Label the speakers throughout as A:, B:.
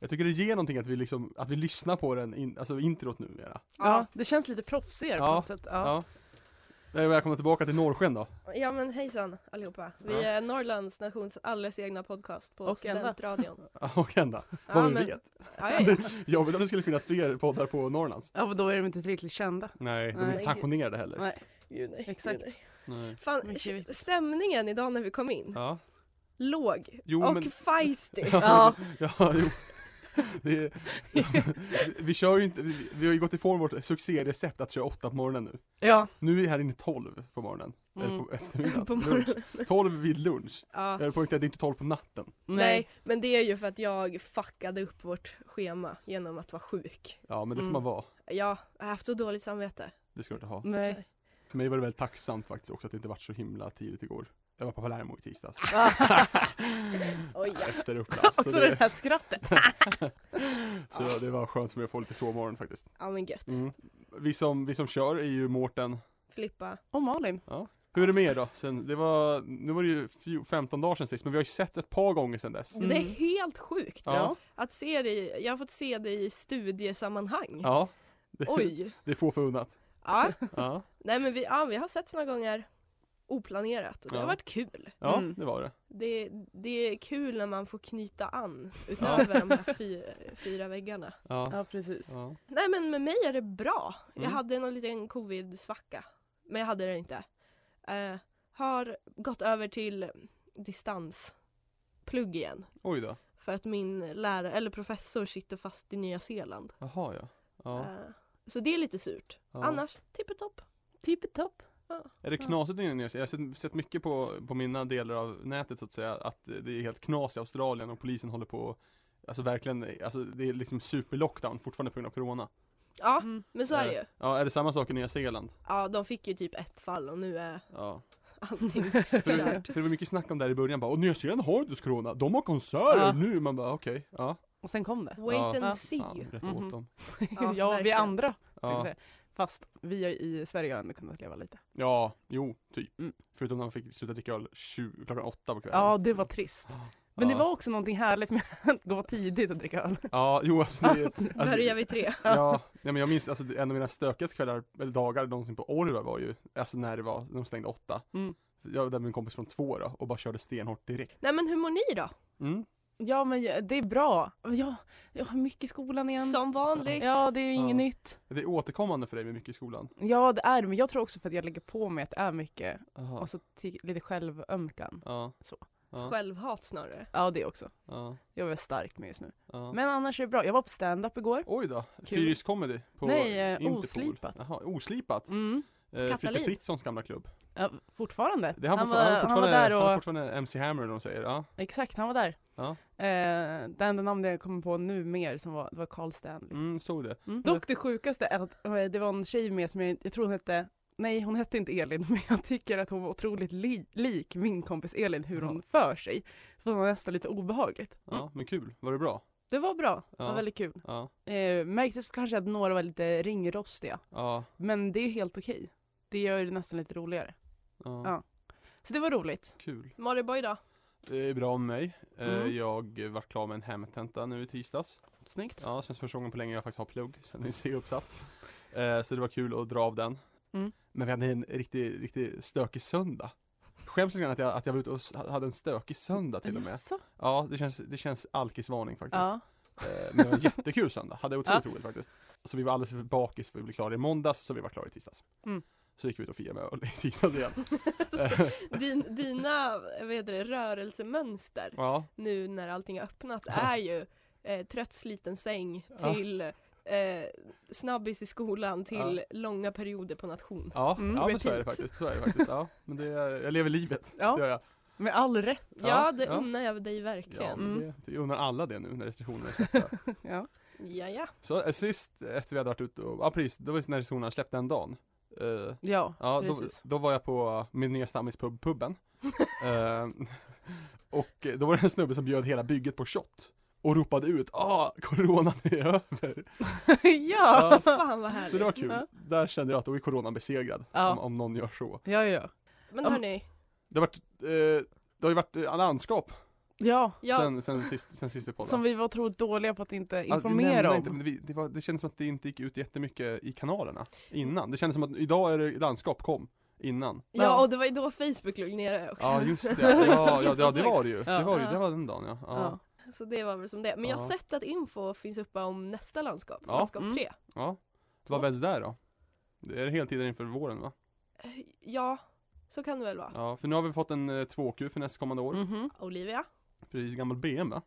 A: Jag tycker det ger någonting att vi liksom, att vi lyssnar på den, in, alltså introt numera.
B: Ja, det känns lite proffsigare på
A: Ja,
B: något sätt. Ja.
A: Ja. ja. Välkomna tillbaka till Norrsken då.
C: Ja. men hejsan allihopa. Vi
A: Ja.
C: är Norrlands nations alldeles egna podcast på
B: Och enda.
C: Studentradion.
A: Ja, Och ända.
C: Ja,
A: Vad vi
C: men-
A: vet.
C: Ja, ja, ja.
A: Jobbigt om det skulle finnas fler poddar på Norrlands.
B: ja, men då är de inte tillräckligt kända.
A: Nej, de är
B: Nej.
A: inte sanktionerade heller.
B: Nej.
C: Gud, nej,
B: Exakt.
C: Gud, nej.
A: Nej.
C: Fan,
B: Mycket
C: sh-
B: viktigt.
C: stämningen idag när vi kom in,
A: Mm, Ja.
C: låg
A: Jo,
C: och
A: men-
C: feisty.
B: Ja.
A: ja, jo. Det är, vi kör ju inte, vi, vi har ju gått ifrån vårt succérecept att köra åtta på morgonen nu.
C: Ja,
A: Nu är vi här inne 12 på morgonen. Eller
B: Mm.
A: på eftermiddagen.
C: på
A: Lunch.
C: morgonen.
A: 12 vid lunch.
C: Ja.
A: Jag vill poängtera att det är inte 12 på natten.
C: Nej,
B: Nej.
C: men det är ju för att jag fuckade upp vårt schema genom att vara sjuk.
A: Ja, men det får
B: Mm.
A: man vara.
C: Jag har haft så dåligt samvete.
A: Det ska du inte ha.
B: Nej.
A: För mig var det väldigt tacksamt faktiskt också att det inte vart så himla tidigt igår. Jag var på Palermo i tisdags.
C: Oj, ja.
A: Efter Upplands.
B: Och så det här skrattet.
A: så det var skönt för mig att få lite sovmorgon faktiskt.
C: ja men gött.
A: Mm. Vi, som, vi som kör är ju Mårten.
C: Filippa.
B: Och Malin.
A: Hur är det med er då? Sen, det var, nu var det ju fjo- 15 dagar sedan sist, men vi har ju sett ett par gånger sedan dess.
B: Mm.
C: Det är helt sjukt.
A: Ja.
C: Att se dig, jag har fått se dig i studiesammanhang.
A: Ja. Det,
C: Oj.
A: det är få förunnat.
C: Ja.
A: Ja,
C: Nej men vi, ja, vi har sett några gånger oplanerat och det
A: Ja.
C: har varit kul.
A: ja
B: Mm.
A: det var det.
C: Det, det är kul när man får knyta an utöver de här fy, fyra väggarna.
A: Ja.
B: Ja, precis.
A: Ja.
C: Nej men med mig är det bra. Jag
A: Mm.
C: hade någon liten covid-svacka. Men jag hade det inte. Eh, har gått över till distansplugg igen.
A: Oj då.
C: För att min lärare, eller professor sitter fast i Nya Zeeland.
A: Jaha ja. Ja,
C: Eh, så det är lite surt.
A: ja.
C: Annars, tippetopp.
B: Tippetopp.
A: Är det knasigt inne i Nya Zeeland? Jag har sett, sett mycket på, på mina delar av nätet så att säga att det är helt knas i Australien och polisen håller på Alltså verkligen, alltså det är liksom superlockdown fortfarande på grund av Corona.
C: Ja,
B: Mm.
C: men så är det ju.
A: Ja, är det samma sak i Nya Zeeland?
C: Ja, de fick ju typ ett fall och nu är
A: Ja.
C: allting
A: För, det-
C: kört.
A: för det var mycket snack om det här i början bara, och Nya Zeeland har inte just Corona, de har konserter
B: Ja.
A: nu! Man bara okej, ja.
B: Och sen kom det.
C: Wait
A: Ja.
B: Ja.
C: and see.
A: Fan, rätt
B: Mhm.
A: åt dem.
B: Ja, vi
C: verkligen.
B: andra. Ja.
A: Ja.
B: Säga. Fast vi är i Sverige har ändå kunnat leva lite.
A: ja, jo, typ.
B: Mm.
A: Förutom när man fick sluta dricka öl 20, klockan åtta på kvällen.
B: Ja, det var trist. Men
A: ja.
B: det var också någonting härligt med att gå tidigt och dricka öl.
A: Ja, jo alltså det, alltså,
C: Börjar vid tre.
A: Ja, nej, men jag minns alltså det- en av mina stökigaste kvällar, eller dagar någonsin på Orvar var ju, alltså när det var, när de stängde åtta.
B: Mm.
A: Jag var där med en kompis från två då och bara körde stenhårt direkt.
C: Nej men hur mår ni då?
A: Mm.
B: Ja, men jag- det är bra. Ja, jag har mycket i skolan igen.
C: Som vanligt.
B: Ja, det är ju inget
A: Ja.
B: nytt.
A: Det är återkommande för dig med mycket i skolan.
B: Ja, det är det. Men jag tror också för att jag lägger på mig att det är mycket.
A: Aha.
B: Och så ti- lite självömkan.
A: Ja.
B: Så.
A: Ja.
C: Självhat snarare.
B: Ja, det också.
A: Ja.
B: Jag är väldigt starkt med just nu.
A: ja.
B: Men annars är det bra. Jag var på stand-up igår.
A: Oj då,
B: Kul.
A: Fyris Comedy på
B: Nej, eh,
A: Interpol.
B: Oslipat.
A: Jaha, oslipat.
B: Mm.
A: Eh, Fritte
C: Katalin.
A: Fritzons gamla klubb.
B: Ja, fortfarande.
A: Det är han,
B: han,
A: fortfar-
B: var,
A: han,
B: han var
A: fortfarande,
B: där och...
A: han är fortfarande MC Hammer de säger. Ja.
B: Exakt, han var där.
A: Ja.
B: Eh, det enda namnet jag kommer på nu mer som var, det var Carl Stanley.
A: Mm, såg det.
B: Mm. Dock det sjukaste är att eh, det var en tjej med som jag, jag tror hon hette, nej hon hette inte Elin, men jag tycker att hon var otroligt li, lik min kompis Elin hur hon för sig. För det var nästan lite obehagligt. Mm.
A: Ja, men kul. Var det bra?
B: Det var bra, det
A: Ja.
B: var väldigt kul.
A: Ja.
B: Eh, märktes kanske att några var lite ringrostiga,
A: Ja.
B: men det är ju helt okej. Det gör det nästan lite roligare.
A: Ja.
B: Ja. Så det var roligt.
A: Kul.
C: Mår det bra idag?
A: Det är bra om mig. Eh,
B: Mm.
A: Jag eh, var klar med en hemtenta nu i tisdags.
B: Snyggt.
A: Ja, det känns första gången på länge jag faktiskt har plugg sen min C-uppsats. Eh, så det var kul att dra av den.
B: Mm.
A: Men vi hade en riktigt, riktigt stökig söndag. Skäms lite grann att jag, att jag var ute och s- hade en stökig söndag till och med.
B: Jaså?
A: Ja, det känns, det känns alkisvarning faktiskt.
B: Ja.
A: Eh, Men det var en jättekul söndag, hade otroligt
B: Ja.
A: roligt faktiskt. Så vi var alldeles för bakis för att bli klara i måndags, så vi var klara i tisdags.
B: Mm.
A: Så gick vi ut och firade med öl i tisdags igen.
C: Din, dina vad heter det, rörelsemönster
A: Ja,
C: nu när allting har öppnat
A: Ja.
C: är ju eh, trött sliten säng
A: Ja.
C: till eh, snabbis i skolan till långa perioder på nation.
A: ja,
B: Mm,
A: ja men så är det
B: repeat.
A: faktiskt. Så är det faktiskt. Ja, men det, är- jag lever livet,
B: Ja.
A: det gör jag.
B: Med all rätt.
C: Ja,
A: Ja,
C: det
A: ja.
C: unnar jag dig
A: Ja,
C: verkligen.
B: Mm.
A: men det, vi unnar alla det nu när restriktionerna är släppta.
B: Ja.
C: Ja, ja.
A: Så eh, sist efter vi hade varit ute och, ja precis, det var just när restriktionerna släppte den dagen. Eh,
B: Ja,
A: ja, då,
B: precis.
A: då var jag på eh, min nya stammis pub, puben. Eh, och då var det en snubbe som bjöd hela bygget på shot. Och ropade ut, ah, coronan är över!
B: ja.
A: Ja,
C: Fan vad härligt.
A: Så det var kul.
B: Ja.
A: Där kände jag att då är coronan besegrad.
B: Ja.
A: Om, om någon gör så.
B: ja, ja.
C: Men
B: Ja, men-
C: hörni,
A: Det har varit, eh, det har ju varit eh, landskap
B: Ja,
C: ja,
A: sen, sen, sist, sen sist vi poddade.
B: som vi var otroligt dåliga på att inte
A: Alltså, vi nämnde
B: informera
A: Inte,
B: om.
A: men vi, det, var, det kändes som att det inte gick ut jättemycket i kanalerna innan. Det kändes som att idag är det landskap kom innan.
C: ja och det var ju då Facebook låg nere också.
A: Ja just det, ja, ja, ja, det var det ju.
B: Ja.
A: Det var ju, det var den dagen ja.
B: Ja.
A: Ja,
C: Så det var väl som det. Men jag har
A: Ja.
C: sett att info finns uppe om nästa landskap,
A: Ja.
C: landskap
B: Mm.
C: 3.
A: ja. Det var väl där då? Det är heltider inför våren va?
C: Ja, så kan det väl vara.
A: Ja, för nu har vi fått en eh, 2Q för nästkommande år.
B: Mhm.
C: Olivia?
A: Precis, gammal BM va?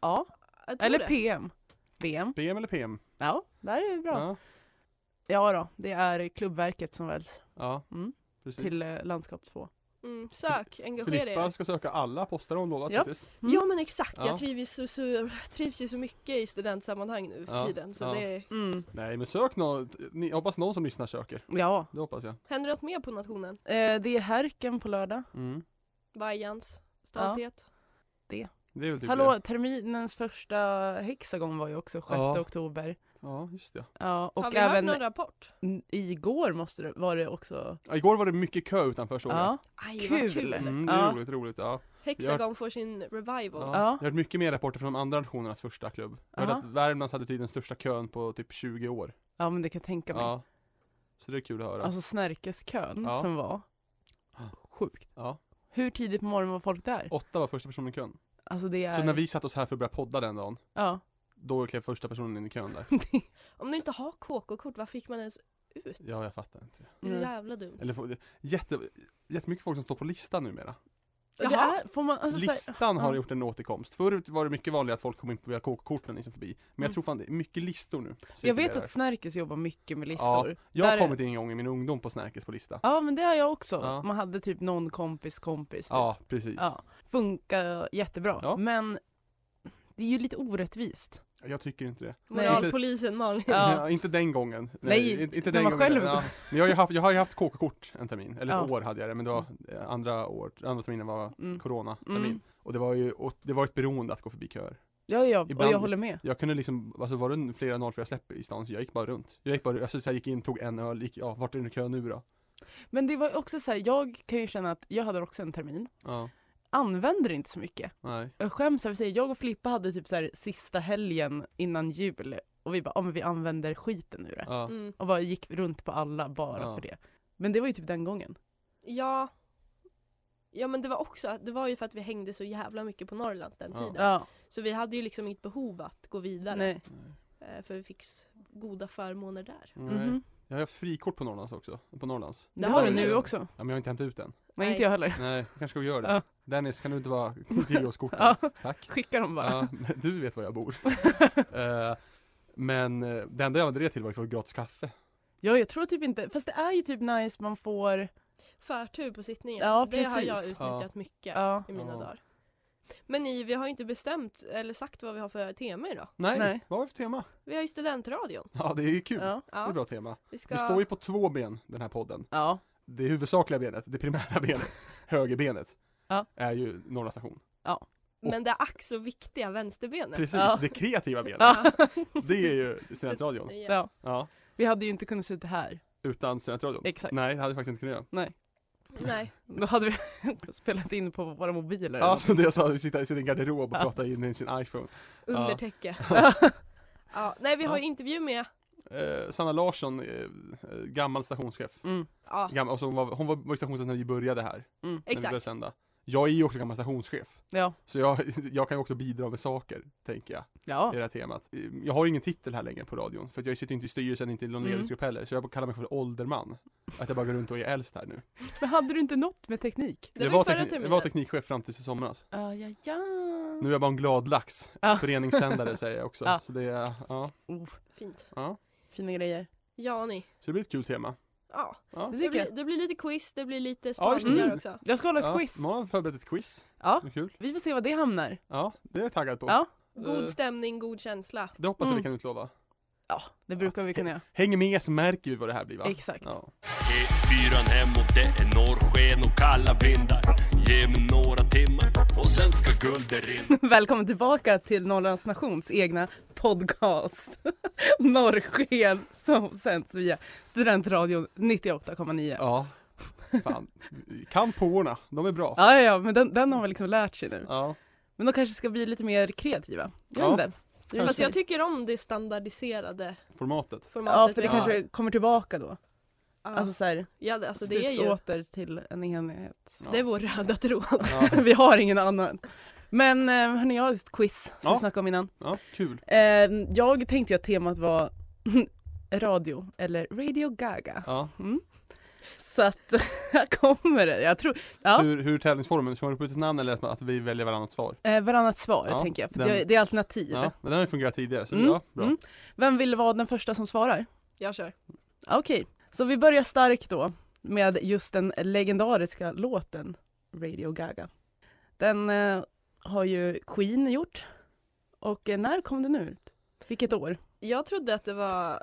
B: Ja,
C: Jag tror
B: eller
C: det.
B: PM. BM.
A: BM eller PM?
B: Ja, där är det bra.
A: Ja,
B: Ja då, det är Klubbverket som väljs
A: ja.
B: Mm.
A: precis.
B: till eh, landskap 2.
C: Mm, sök, engagera
A: Filippa
C: er.
A: ska söka alla poster hon lovat
B: Ja.
A: faktiskt.
B: Mm.
C: Ja men exakt,
A: Ja.
C: jag trivs, så, så, trivs ju så mycket i studentsammanhang nu för
A: Ja,
C: tiden. Så
A: ja.
C: det
B: Mm.
A: Nej men sök något, Ni- jag hoppas någon som lyssnar söker.
B: Ja,
A: Det hoppas jag.
C: händer något mer på nationen.
B: eh, det är Härken på lördag.
A: Mm.
C: Vajans, stolthet.
A: Det är väl typ
B: Hallå,
A: det.
B: terminens första hexagon var ju också 6
A: Ja.
B: oktober.
A: Ja, just det.
B: Ja,
C: har
B: och
C: vi
B: även
C: hört någon rapport?
B: n- igår måste det, var det också.
A: Ja, Igår var det mycket kö utanför såg jag.
B: Ja,
C: Aj, vad
B: Kul.
C: kul!
A: Mm, det är
B: Ja.
A: roligt, roligt. Ja.
C: Hexagon får sin revival.
A: Ja.
C: Ja.
A: Jag har hört mycket mer rapporter från de andra nationernas första klubb. Jag hörde
B: Ja.
A: att Värmlands hade tydligen den största kön på typ 20 år.
B: ja men det kan jag tänka mig.
A: Ja. Så det är kul att höra.
B: Alltså Snärkeskön
A: Ja. Ah.
B: som var sjukt.
A: Ja.
B: Hur tidigt på morgonen var folk där?
A: Åtta var första personen i kön.
B: Alltså det är...
A: Så när vi satt oss här för att börja podda den dagen,
B: Ja.
A: då klev första personen in i kön där.
C: Om du inte har KK-kort, vad fick man ens ut?
A: Ja, jag fattar inte det.
C: Det är så
B: Mm.
C: jävla dumt.
A: Eller får- jätte, jättemycket folk som står på listan numera.
B: Jaha,
C: Jaha.
B: får man alltså, så här-
A: Listan har
B: ja.
A: gjort en återkomst. Förut var det mycket vanligt att folk kom in på via KK-korten liksom förbi. Men
B: Mm.
A: jag tror fan det är mycket listor nu.
B: Jag vet
A: cirkulerar.
B: att Snärkes jobbar mycket med listor. Ja,
A: Jag
B: där
A: har
B: är-
A: kommit in en gång i min ungdom på Snärkes på lista.
B: men det har jag också.
A: Ja.
B: Man hade typ någon kompis kompis. Typ.
A: Ja, precis.
B: Ja. Funkar jättebra.
A: Ja.
B: Men det är ju lite orättvist.
A: Jag tycker inte det.
C: Moralpolisen Malin.
B: Ja.
A: Ja, inte den gången.
B: Nej,
A: inte- inte
B: när man själv-
A: Ja. Men jag har ju haft, jag har ju haft KK-kort en termin, eller ett
B: Ja.
A: år hade jag det, men det var eh, andra år, andra terminen var
B: Mm.
A: corona-termin.
B: Mm.
A: Och det var ju, och det var ett beroende att gå förbi köer.
B: Ja, ja, och
A: Ibland-
B: jag håller med.
A: Jag kunde liksom, alltså var det flera 04 släpp i stan så jag gick bara runt. Jag gick bara, alltså så jag gick in, tog en öl, gick, ja vart är det kö nu då?
B: Men det var ju också så här, jag kan ju känna att jag hade också en termin.
A: Ja,
B: Använder inte så mycket.
A: nej.
B: Jag skäms över att säga, jag och Filippa hade typ så här sista helgen innan jul och vi bara, ja men vi använder skiten nu det.
A: Ja.
C: Mm.
B: Och bara gick runt på alla bara
A: Ja.
B: för det. Men det var ju typ den gången.
C: Ja. Ja men det var också, att- det var ju för att vi hängde så jävla mycket på Norrlands den
A: Ja.
C: tiden.
B: Ja,
C: Så vi hade ju liksom inget behov att gå vidare.
B: nej.
A: Nej.
C: Eh, För vi fick s- goda förmåner där.
A: Nej.
B: Mhm.
A: Jag har haft frikort på Norrlands också, på Norrlands.
B: Det har du
A: Ja,
B: nu
A: ja.
B: också.
A: Ja men jag har inte hämtat ut den.
B: Nej,
C: Nej.
B: inte jag heller.
A: Nej, jag kanske ska göra det.
B: Ja.
A: Dennis, kan du inte bara ge oss korten?
B: Ja.
A: Tack.
B: Skicka dem bara.
A: Ja, men du vet var jag bor. Eh, men eh, det enda jag använde det till var ju för gratis kaffe.
B: Ja, jag tror typ inte, fast det är ju typ nice man får,
C: Förtur på sittningen.
B: Ja,
C: det har jag
B: precis.
C: utnyttjat
A: Ja.
C: mycket
B: ja.
C: i mina
A: Ja.
C: dagar. Men ni, vi har ju inte bestämt eller sagt vad vi har för tema idag.
A: Nej,
B: Nej.
A: vad var det för tema?
C: Vi har ju studentradion.
A: Ja, det är ju kul.
B: Ja.
A: Det är ett
C: Ja,
A: bra tema.
C: vi ska...
A: Vi står ju på två ben, den här podden.
B: ja.
A: Det huvudsakliga benet, det primära benet, högerbenet,
B: Ja.
A: är ju Norra station.
C: Men det ack så viktiga vänsterbenet.
A: Precis,
B: Ja.
A: det kreativa benet.
B: Ja.
A: Det är ju studentradion.
C: Ja.
B: ja.
A: Ja,
B: Vi hade ju inte kunnat sitta här.
A: utan studentradion.
B: Exakt.
A: Nej, det hade jag faktiskt inte kunnat göra.
C: Nej.
B: Då hade vi spelat in på våra mobiler.
A: Ja, som det jag sa, sitta i sin garderob och
B: Ja.
A: prata in i sin iPhone.
C: Under
A: Ja.
C: täcke.
B: Ja.
C: Ja. Nej, vi har
A: Ja.
C: ju intervju med
A: Eh, Sanna Larsson, eh, eh, gammal stationschef.
B: Mm.
C: ja,
A: Gammal, alltså hon var, hon var, var stationschef när vi började här.
B: Mm.
A: När vi började
C: Exakt.
A: sända. Jag är ju också gammal stationschef.
B: Ja.
A: Så jag, jag kan ju också bidra med saker, tänker jag, i
B: Ja.
A: det här temat. Eh, Jag har ju ingen titel här längre på radion, för att jag sitter inte i styrelsen, inte i någon
B: Mm.
A: ledningsgrupp heller, så jag kallar mig för ålderman. Att jag bara går runt och är äldst här nu.
B: Men hade du inte något med teknik?
C: Det var ju förra
A: tekni- jag
C: terminen. Ah,
A: var teknikchef fram tills i somras.
B: Ja, ja, ja.
A: Nu är jag bara en glad lax.
B: Ja.
A: Föreningssändare säger jag också.
B: Ja.
A: Så det är, ja,
B: Oh,
C: fint.
A: ja.
B: fina grejer.
C: Jani,
A: Så det blir ett kul tema.
C: Ja,
A: Ja.
B: Det
C: det
B: tycker
C: blir,
B: jag.
C: det blir lite quiz, det blir lite
A: Ja, just det.
C: spaningar
B: Mm.
C: också.
B: Jag ska hålla ett
A: Ja,
B: quiz.
A: Man har förberett ett quiz.
B: Ja.
A: Det är kul.
B: Vi får se vad det hamnar.
A: Ja, det är jag taggad på.
B: Ja.
A: Eh,
C: God stämning, god känsla.
A: Det hoppas jag
B: Mm.
A: vi kan utlova.
B: Ja, det brukar vi kunna göra.
A: Häng med så märker vi vad det här blir va?
B: Exakt.
A: Ja.
D: E4 hemåt, det är norrsken och kalla vindar Ge mig några timmar och sen ska guldet rinna
B: Välkommen tillbaka till Norrlands Nations egna podcast Norrsken som sänds via Studentradion 98,9. Ja.
A: ja. Fan. Kan påorna, de är bra.
B: Ja, ja, men den, den har vi liksom lärt sig nu.
A: Ja.
B: Men de kanske ska bli lite mer kreativa. Jag
A: Ja.
B: vet inte. Det är
C: Fast
B: lite-
C: jag tycker om det standardiserade
A: Formatet.
C: formatet.
B: Ja, för det
C: nu.
B: kanske kommer tillbaka då.
C: Ja.
B: Alltså så här,
C: ja, det, alltså det är
B: sluts
C: ju,
B: åter till en enhet.
A: Ja.
C: det är vår röda tråd.
A: Ja,
B: vi har ingen annan. Men eh, hörni, jag har ett quiz som
A: Ja.
B: vi snackade om innan.
A: ja kul.
B: Eh, jag tänkte ju att temat var radio, eller Radio Gaga.
A: Ja.
B: Så att här kommer det. Jag tror, ja,
A: Hur, hur tävlingsformen, kör man upp ett namn eller att vi väljer varannat svar?
B: eh, varannat svar
A: Ja,
B: tänker jag, för
A: den-
B: det, det är alternativ.
A: Ja, men den har ju fungerat tidigare så
B: Mm,
A: ja, bra.
B: mm. Vem vill vara den första som svarar?
C: Jag kör.
B: Ja, Okej, så vi börjar starkt då med just den legendariska låten Radio Gaga. Den eh, har ju Queen gjort. Och eh, när kom den ut? Vilket år?
C: Jag trodde att det var,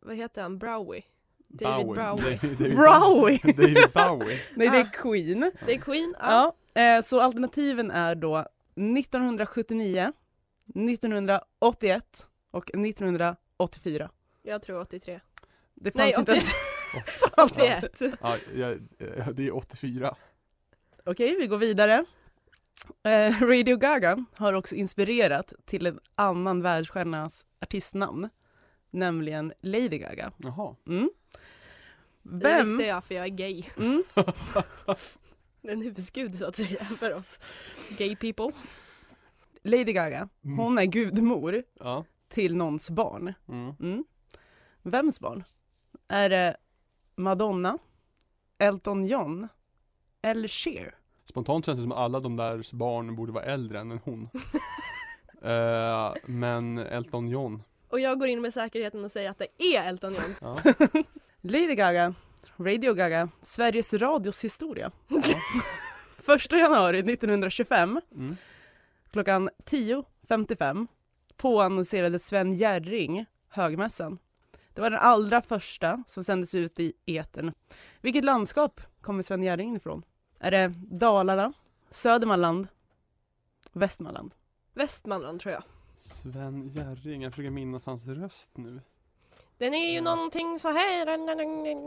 C: vad heter han, Browie? David Bowie.
A: David, David,
B: Bowie.
A: David Bowie.
B: Nej, det
C: Ah.
B: är Queen.
C: Det är Queen? Ja.
B: Ja, eh, så alternativen är då 1979, 1981 och 1984.
C: Jag tror 83.
B: Det fanns
C: Nej,
B: inte
C: 81.
B: ens...
C: Så 81.
A: Ja, jag, eh, det är 84.
B: Okej, vi går vidare. Eh, Radio Gaga har också inspirerat till en annan världsstjärnas artistnamn, nämligen Lady Gaga.
A: Jaha.
B: Mm.
C: Det visste
B: Vem?
C: jag för jag är gay.
B: Mm.
C: Det är en husgud så att säga för oss. Gay people.
B: Lady Gaga,
A: Mm.
B: hon är gudmor
A: Ja.
B: till någons barn.
A: Mm.
B: Mm. Vems barn? Är det Madonna, Elton John eller Cher?
A: Spontant känns det som att alla de där barn borde vara äldre än en hon. Eh, men Elton John.
C: Och jag går in med säkerheten och säger att det är Elton John.
A: Ja.
B: Lady Gaga, Radio Gaga, Sveriges Radios historia. 1 januari 1925
A: Mm.
B: klockan 10.55 påannonserade Sven Jerring högmässan. Det var den allra första som sändes ut i etern. Vilket landskap kommer Sven Jerring ifrån? Är det Dalarna, Södermanland, Västmanland?
C: Västmanland tror jag.
A: Sven Jerring, jag försöker minnas hans röst nu.
C: Den är ju
B: Mm.
C: någonting så här.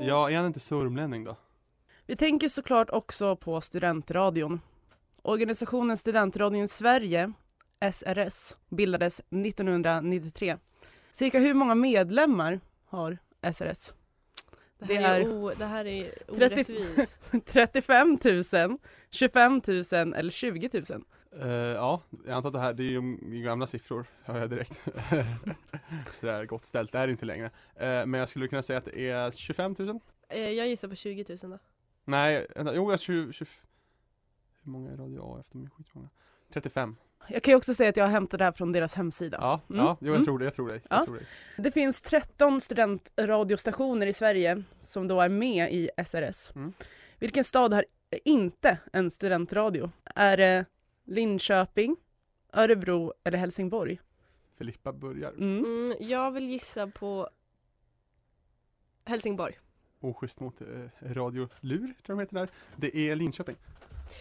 A: Ja, är han inte sörmlänning då?
B: Vi tänker såklart också på Studentradion. Organisationen Studentradion Sverige, SRS, bildades 1993. Cirka hur många medlemmar har SRS? Det
C: Det här, är...
B: är-
C: O, det här är
B: 30.
C: orättvist.
B: 35 000, 25 000 eller 20 000?
A: Eh, ja, jag antar att det här, det är ju de gamla siffror, hör jag direkt. Sådär gott ställt är det inte längre. Eh, men jag skulle kunna säga att det är 25 000?
C: Eh, Jag gissar på 20 000 då.
A: Nej, vänta, jo, jag 20, 20, Hur många är Radio A efter mig? Skitmånga. 35.
B: Jag kan ju också säga att jag hämtade det här från deras hemsida.
A: Ja, ja,
B: Mm.
A: jo, jag
B: Mm.
A: tror det, jag tror det.
B: Ja.
A: Jag tror det.
B: Det finns 13 studentradiostationer i Sverige som då är med i SRS.
A: Mm.
B: Vilken stad har inte en studentradio? Är det Linköping, Örebro eller Helsingborg?
A: Filippa börjar.
B: Mm.
C: Mm, jag vill gissa på Helsingborg.
A: Oschysst mot eh, Radio Lur, tror jag de heter där. Det är Linköping.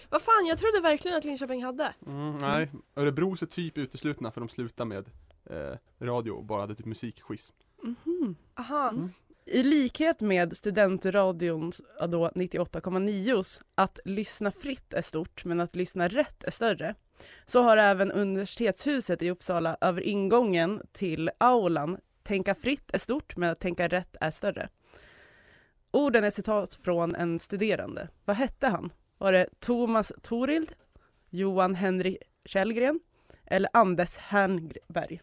C: Vad fan, jag trodde verkligen att Linköping hade.
A: Mm, nej, Örebro ser typ uteslutna för de slutar med eh, radio och bara hade typ musikquiz.
B: Mhm.
C: Aha.
A: Mm.
B: I likhet med studentradions ja då 98,9s att lyssna fritt är stort men att lyssna rätt är större så har även universitetshuset i Uppsala över ingången till aulan tänka fritt är stort men att tänka rätt är större. Orden är citat från en studerande. Vad hette han? Var det Thomas Torild, Johan Henrik Källgren eller Anders Hernberg?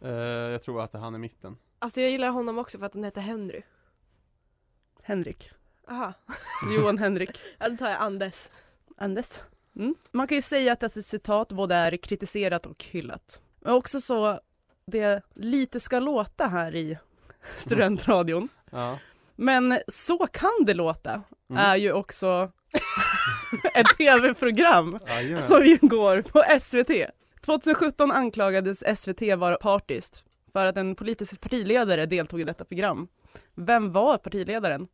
A: Eh, jag tror att han är mitten.
C: Alltså jag gillar honom också för att han heter Henry.
B: Henrik.
C: Aha.
B: Johan Henrik.
C: Ja, då tar jag Andes.
B: Anders. Mm. Man kan ju säga att detta citat både är kritiserat och hyllat. Men också så det lite ska låta här i studentradion
A: Ja.
B: Men Så kan det låta
A: Mm.
B: är ju också ett tv-program
A: Jajamän.
B: som ju går på SVT. 2017 anklagades SVT vara partiskt för att en politisk partiledare deltog i detta program. Vem var partiledaren?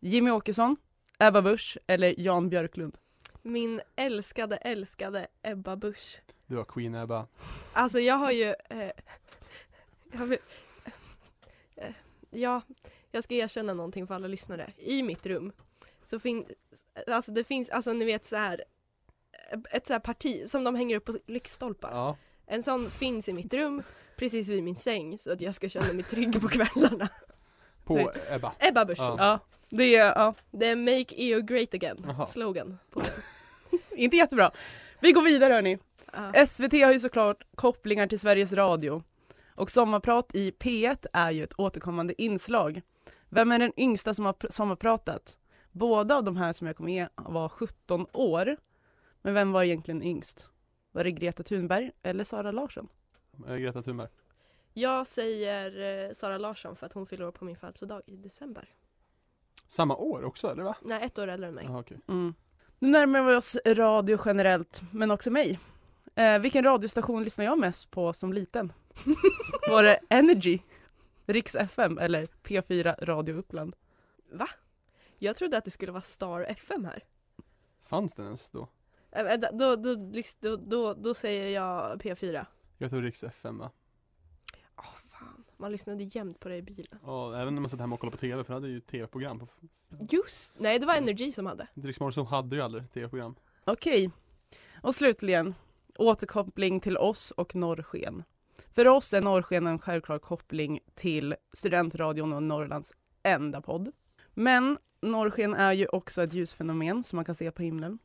B: Jimmy Åkesson, Ebba Busch eller Jan Björklund?
C: Min älskade, älskade Ebba Busch.
A: Du var Queen Ebba.
C: Alltså jag har ju... Eh, jag vill, eh, ja, jag ska erkänna någonting för alla lyssnare. I mitt rum så finns... Alltså det finns, alltså ni vet så här eh, ett så här parti som de hänger upp på lyktstolpar.
A: Ja.
C: En sån finns i mitt rum precis vid min säng så att jag ska känna mig trygg på kvällarna.
A: På
B: Nej.
A: Ebba.
C: Ebba Busch
A: Ja.
C: ja.
B: Ja, det är, ja,
C: Det är Make EU Great Again
A: Jaha.
C: slogan. På den.
B: inte jättebra. Vi går vidare hörni.
C: Ja.
B: SVT har ju såklart kopplingar till Sveriges Radio och Sommarprat i P1 är ju ett återkommande inslag. Vem är den yngsta som har pr- sommarpratat? Båda av de här som jag kommer ge var 17 år. Men vem var egentligen yngst? Var det Greta Thunberg eller Sara Larsson?
A: Eh, Greta Thunberg.
C: Jag säger eh, Sara Larsson för att hon fyller år på min födelsedag i december.
A: Samma år också eller va?
C: Nej, ett år äldre än mig.
A: Jaha, okej.
B: Mm. Nu närmar vi oss radio generellt, men också mig. Eh, vilken radiostation lyssnar jag mest på som liten? Var det Energy, Riks FM eller P4 Radio Uppland?
C: Jag trodde att det skulle vara Star FM här.
A: Fanns den ens då?
C: Eh, eh, Då, då, lys- då, då, då säger jag P4.
A: Jag tror Riks FM va?
C: Åh fan, man lyssnade jämt på det i bilen.
A: Ja, även när man satt hemma och kollade på TV, för det hade ju TV-program på
C: Just Nej, det var
A: Mm.
C: Energy som hade.
A: Riksmorgon så hade ju aldrig TV-program.
B: Okej. Och slutligen, återkoppling till oss och norrsken. För oss är norrsken en självklar koppling till studentradion och Norrlands enda podd. Men norrsken är ju också ett ljusfenomen som man kan se på himlen.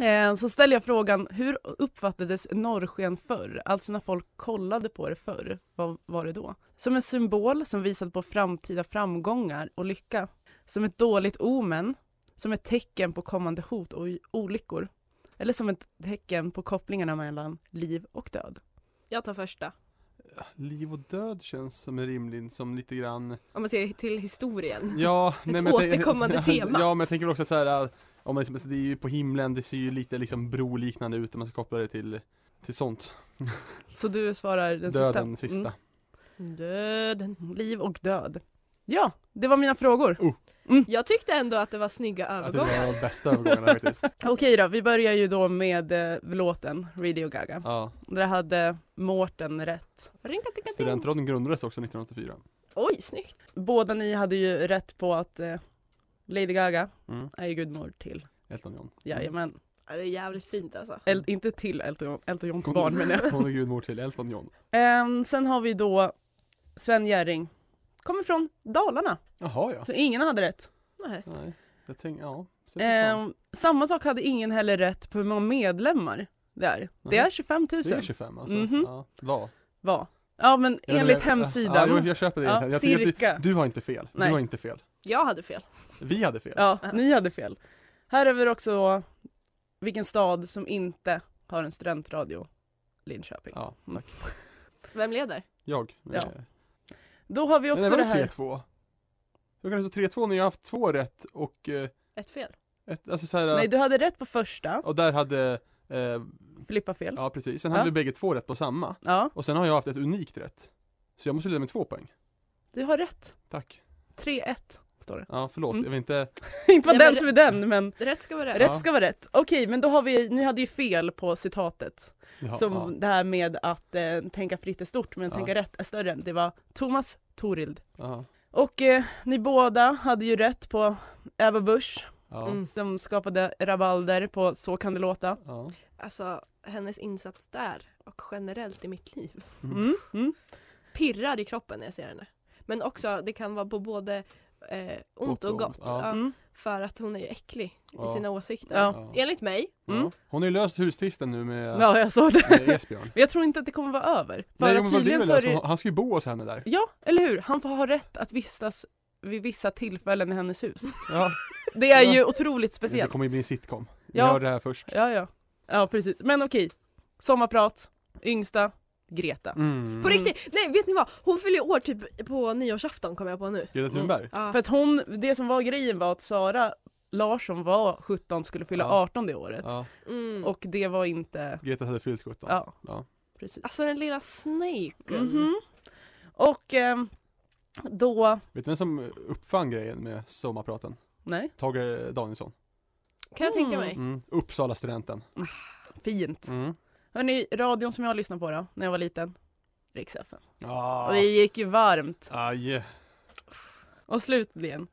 B: Eh, Så ställer jag frågan, hur uppfattades norrsken förr? Alltså när folk kollade på det förr, vad var det då? Som en symbol som visade på framtida framgångar och lycka. Som ett dåligt omen, som ett tecken på kommande hot och olyckor. Eller som ett tecken på kopplingarna mellan liv och död.
C: Jag tar första.
A: Liv och död känns som en rimlig, som lite grann
C: Om man ser till historien.
A: Ja, nej, men jag tänker-
C: återkommande tema.
A: Ja, men jag tänker väl också att så här, om man liksom, det är ju på himlen, det ser ju lite liksom broliknande ut om man ska koppla det till, till sånt.
B: Så du svarar den
A: Döden,
B: sista?
A: sista.
C: Döden.
B: Mm. Liv och död. Ja, det var mina frågor.
C: Jag tyckte ändå att det var snygga
A: Jag tycker
C: övergångar.
A: det var de bästa övergångarna faktiskt.
B: Okej då, vi börjar ju då med eh, låten Radio Gaga.
A: Ja.
B: Där hade Mårten rätt.
C: Ringatikading.
A: Studentradion grundades också 1984.
C: Oj, snyggt.
B: Båda ni hade ju rätt på att eh, Lady Gaga
A: Mm.
B: är ju gudmor till,
A: Elton John.
B: jajamän,
C: Ja, det är jävligt fint alltså.
B: El, inte till Elton, John- Elton Johns barn men jag.
A: Hon är gudmor till Elton John.
B: Ehm, sen har vi då Sven Jerring, kommer från Dalarna.
A: Jaha ja.
B: Så ingen hade rätt.
C: Nej.
A: Nej, jag tänkte, ja. Så fan.
B: Ehm, samma sak hade ingen heller rätt på hur många medlemmar det är. Det är
A: Mhm.
B: 25 000.
A: det är 25 alltså.
B: Mhm.
A: Ja, vad?
B: Var. Ja men
A: Jag vet
B: enligt
A: inte, jag-
B: hemsidan.
A: äh, Ja, jag, jag köper det.
B: Ja,
A: jag tycker att
B: cirka.
A: du, du har inte fel.
B: Nej.
A: Du har inte fel.
C: Jag hade fel.
A: Vi hade fel.
B: Ja, ni hade fel. Här är vi också vilken stad som inte har en studentradio. Linköping.
A: Ja, tack.
C: Vem leder?
A: Jag.
B: Ja.
A: Eh,
B: Då har vi
A: Men det
B: också
A: var
B: det
A: väl
B: här.
A: 3-2? Hur kan det stå 3-2 när jag har haft två rätt och eh,
C: Ett fel.
A: ett, alltså så här,
B: Nej du hade rätt på första,
A: och där hade, eh,
B: Filippa fel. Ja.
A: ja precis, sen
B: Ja.
A: hade vi bägge två rätt på samma. Och sen har jag haft ett unikt rätt. Så jag måste leda med två poäng.
B: du har rätt.
A: Tack.
B: 3-1 står det.
A: Ja, förlåt,
B: Mm.
A: jag vill inte,
B: Inte var
C: Ja,
B: den
C: men-
B: som är den men
C: Rätt ska vara rätt.
B: rätt ska vara rätt. Okej men då har vi, ni hade ju fel på citatet.
A: ja,
B: som
A: ja.
B: det här med att eh, tänka fritt är stort men
A: Ja.
B: tänka rätt är större. Det var Thomas Torild.
A: Ja,
B: Och eh, ni båda hade ju rätt på Ebba Busch
A: ja,
C: Mm.
B: som skapade rabalder på Så kan det låta.
A: ja.
C: Alltså, hennes insats där och generellt i mitt liv.
B: Mm, mm.
C: pirrar i kroppen när jag ser henne. Men också det kan vara på både eh, ont och
A: och ont,
C: gott.
A: ja.
C: Ja.
B: Mm.
C: för att hon är ju äcklig
A: Ja.
C: i sina åsikter.
B: Ja.
A: Ja.
C: Enligt mig.
B: Mm.
A: Ja. Hon har ju löst hustvisten nu med,
B: Ja, jag såg det.
A: med Esbjörn.
B: Men jag tror inte att det kommer vara över. För
A: Nej,
B: att
A: men vad det är
B: tydligen
A: väl,
B: så är det...
A: alltså, han ska ju bo hos henne där.
B: Ja, eller hur? Han får ha rätt att vistas vid vissa tillfällen i hennes hus.
A: Ja.
B: Det är
A: Ja.
B: ju otroligt
A: Det
B: speciellt.
A: kommer ju bli en sitcom. Vi
B: Ja.
A: hörde det här först.
B: Ja, ja. Ja, precis. Men okej. Sommarprat, yngsta, Greta.
A: Mm.
C: På riktigt, nej vet ni vad? Hon fyller år typ på nyårsafton kommer jag på nu.
A: Greta Thunberg?
C: Ja.
B: För att hon, det som var grejen var att Sara Larsson var 17, skulle fylla
A: Ja.
B: 18 det året.
A: Ja.
C: Mm.
B: Och det var inte,
A: Greta hade fyllt 17.
B: ja,
A: Ja.
B: precis.
C: Alltså den lilla snaken.
B: Mhm. Och ehm, då,
A: Vet du vem som uppfann grejen med sommarpraten?
B: nej,
A: Tage Danielsson.
C: Kan jag tänka mig.
A: Mm. Uppsala studenten.
B: fint.
A: Mm.
B: Hörni, radion som jag lyssnade på då, när jag var liten, Rix FM. Och
A: Ah.
B: det gick ju varmt.
A: Aj.
B: Och slutligen,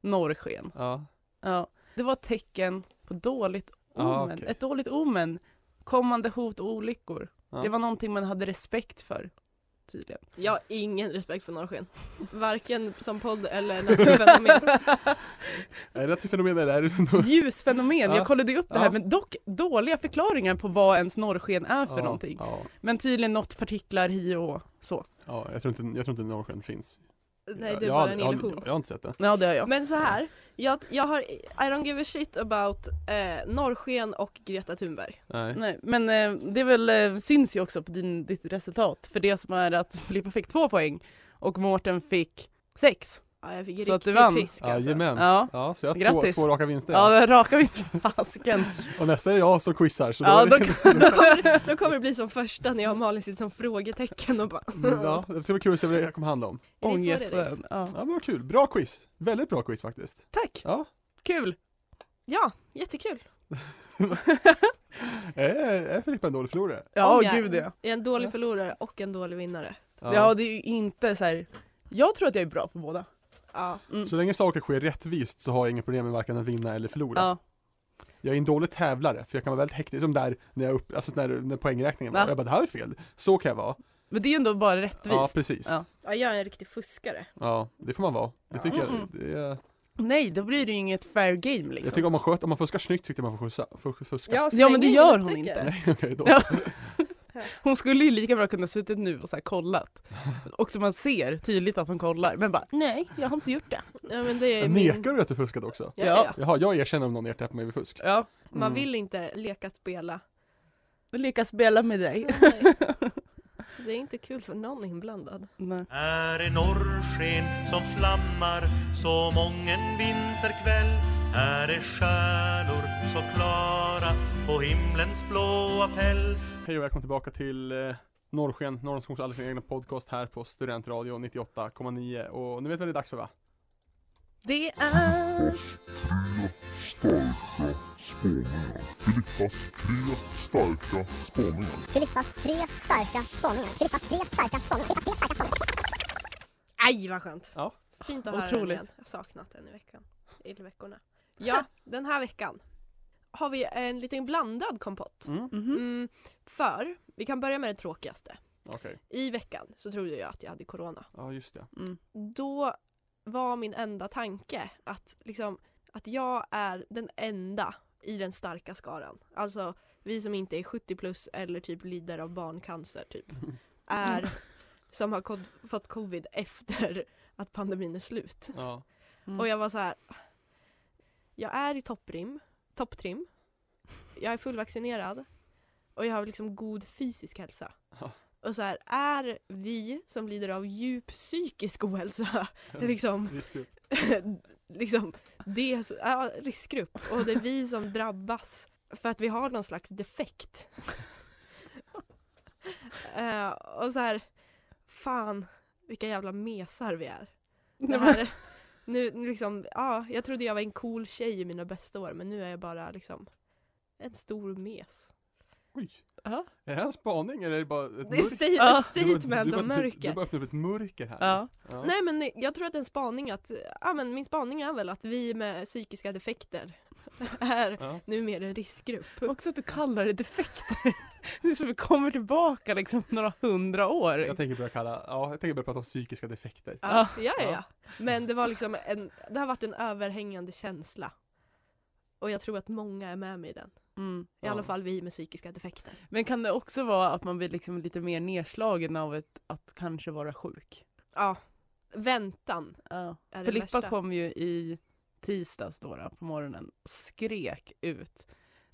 B: norrsken.
A: Ja.
B: Ja, det var ett tecken på dåligt omen.
A: Ja, okej.
B: Ett dåligt omen. Kommande hot och olyckor.
A: Ja.
B: Det var någonting man hade respekt för. Tydligen.
C: Jag har ingen respekt för norrsken. Varken som podd eller naturfenomen.
A: Är det ett fenomen eller är det
B: Ljusfenomen,
A: Ja.
B: jag kollade ju upp det här
A: Ja.
B: men dock dåliga förklaringar på vad ens norrsken är för
A: ja.
B: någonting.
A: Ja.
B: Men tydligen något partiklar hi och å, så.
A: ja, jag tror inte, jag tror inte norrsken finns.
C: Nej det är
A: jag,
C: bara en
A: jag,
C: illusion.
A: Jag, jag har inte sett det.
B: Ja det har jag.
C: Men så här, jag, jag har, I don't give a shit about eh, norrsken och Greta Thunberg.
A: Nej.
B: Nej, men eh, det är väl, eh, syns ju också på din, ditt resultat. För det som är att Filippa fick två poäng och Mårten fick sex.
C: Ja, jag fick
B: Så att du
C: riktig
B: vann.
C: pisk alltså.
A: Jajamän. Ja.
B: Ja.
A: så jag har två,
B: Grattis.
A: två raka vinster.
B: Ja, där rakar vi inte fasken.
A: Och nästa är jag som quizar. Så då
B: Ja,
A: är det...
B: då kan, då kommer,
C: Då kommer det bli som första när jag och Malin sitter som frågetecken och bara
A: Mm, Ja, det ska bli kul att se vad det kommer handla om.
C: Är det så
B: Ångest
C: det är?
B: för- ja.
A: Ja, men vad kul. Bra quiz. Väldigt bra quiz faktiskt.
B: Tack!
A: Ja.
B: Kul!
C: Ja, jättekul!
A: Är, är Filippa en dålig förlorare?
B: Ja,
C: Om jag
B: gud ja.
C: är en dålig förlorare och en dålig vinnare.
B: Ja, det är ju inte så här. Jag tror att jag är bra på båda.
C: Ja.
B: Mm.
A: Så länge saker sker rättvist så har jag inga problem med varken att vinna eller förlora.
B: Ja.
A: Jag är en dålig tävlare, för jag kan vara väldigt hektisk, som där när jag upp, alltså när, när poängräkningen
B: Va?
A: var. Jag bara, det här är fel. Så kan jag vara.
B: Men det är ju ändå bara rättvist.
A: Ja, precis. Ja.
B: Ja.
C: ja, jag är en riktig fuskare.
A: det får man vara. Det tycker
B: Mm-mm.
A: jag, det är,
B: Nej, då blir det ju inget fair game liksom.
A: jag tycker om man sköter, om man fuskar snyggt tycker jag man får skjutsa, får fuska.
C: Ja, så
B: Ja, men
C: länge
B: det gör
C: jag
B: hon
C: tycker.
B: inte.
A: Nej, okej då.
B: Ja. Hon skulle ju lika bra kunna suttit nu och så här kollat. Och så man ser tydligt att hon kollar, men bara nej, jag har inte gjort det.
C: Ja, men det är min...
A: Nekar du att du fuskade också?
C: Ja,
B: Ja.
C: ja.
A: Jaha, jag erkänner om någon ertar på mig vid fusk.
B: Ja,
C: Man
A: Mm.
C: vill inte leka spela.
B: lyckas spela med dig.
C: Nej. Det är inte kul för någon inblandad.
B: Nej.
E: Här är norrsken som flammar som mången vinterkväll. Här är stjärnor så klara på himlens blåa päll.
A: Hej och välkommen tillbaka till eh, Norrsken, Norrlandsskogs alldeles egna podcast här på Studentradio 98,9 och ni vet vad det är dags för va?
B: Det är...
F: Filippas tre starka spaningar. Filippas tre starka spaningar.
C: Aj vad skönt!
A: Ja.
C: Fint att höra
B: Otroligt.
C: den igen. Jag har saknat den i veckan. Eller veckorna. Ja, den här veckan har vi en liten blandad kompott.
A: Mm.
B: Mhm.
C: Mm, för, vi kan börja med det tråkigaste.
A: Okej,
C: I veckan så trodde jag att jag hade corona.
A: ja just det.
B: Mm.
C: Då var min enda tanke att, liksom, att jag är den enda i den starka skaran. Alltså vi som inte är 70 plus eller typ lider av barncancer typ. Är, som har kod, fått covid efter att pandemin är slut.
A: Ja.
B: Mm.
C: Och jag var så här. Jag är i topprim, topptrim. Jag är fullvaccinerad. Och jag har liksom god fysisk hälsa.
A: Ja.
C: Och så här, är vi som lider av djup psykisk ohälsa
A: Mm.
C: liksom,
A: Riskgrupp.
C: liksom det, ja, riskgrupp och det är vi som drabbas för att vi har någon slags defekt. Eh, och så här, fan vilka jävla mesar vi är. Det här, nu, nu liksom, ja, jag trodde jag var en cool tjej i mina bästa år men nu är jag bara liksom en stor mes.
A: Oj,
B: Ja.
A: är det här en spaning eller är det bara ett
C: Det är
A: mörker?
C: sta-
B: Ja.
C: ett statement av
A: Du, du
C: mörker.
A: bara öppnar upp ett mörker här.
B: Ja.
A: Ja.
C: Nej men nej, jag tror att en spaning att, ja men min spaning är väl att vi med psykiska defekter är
A: Ja.
C: numera en riskgrupp.
B: Också att du kallar det defekter. Det är som vi kommer tillbaka liksom några hundra år.
A: Jag tänker börja kalla, ja jag tänker börja prata om psykiska defekter.
C: Ja, ja, ja,
A: Ja.
C: ja. Men det var liksom en, det har varit en överhängande känsla. Och jag tror att många är med mig i den.
B: Mm.
C: I
A: Ja.
C: alla fall vi med psykiska defekter.
B: Men kan det också vara att man blir liksom lite mer nedslagen av ett, att kanske vara sjuk?
C: Ja. Väntan
B: Ja.
C: är det
B: Filippa
C: värsta.
B: kom ju i tisdags då, då på morgonen och skrek ut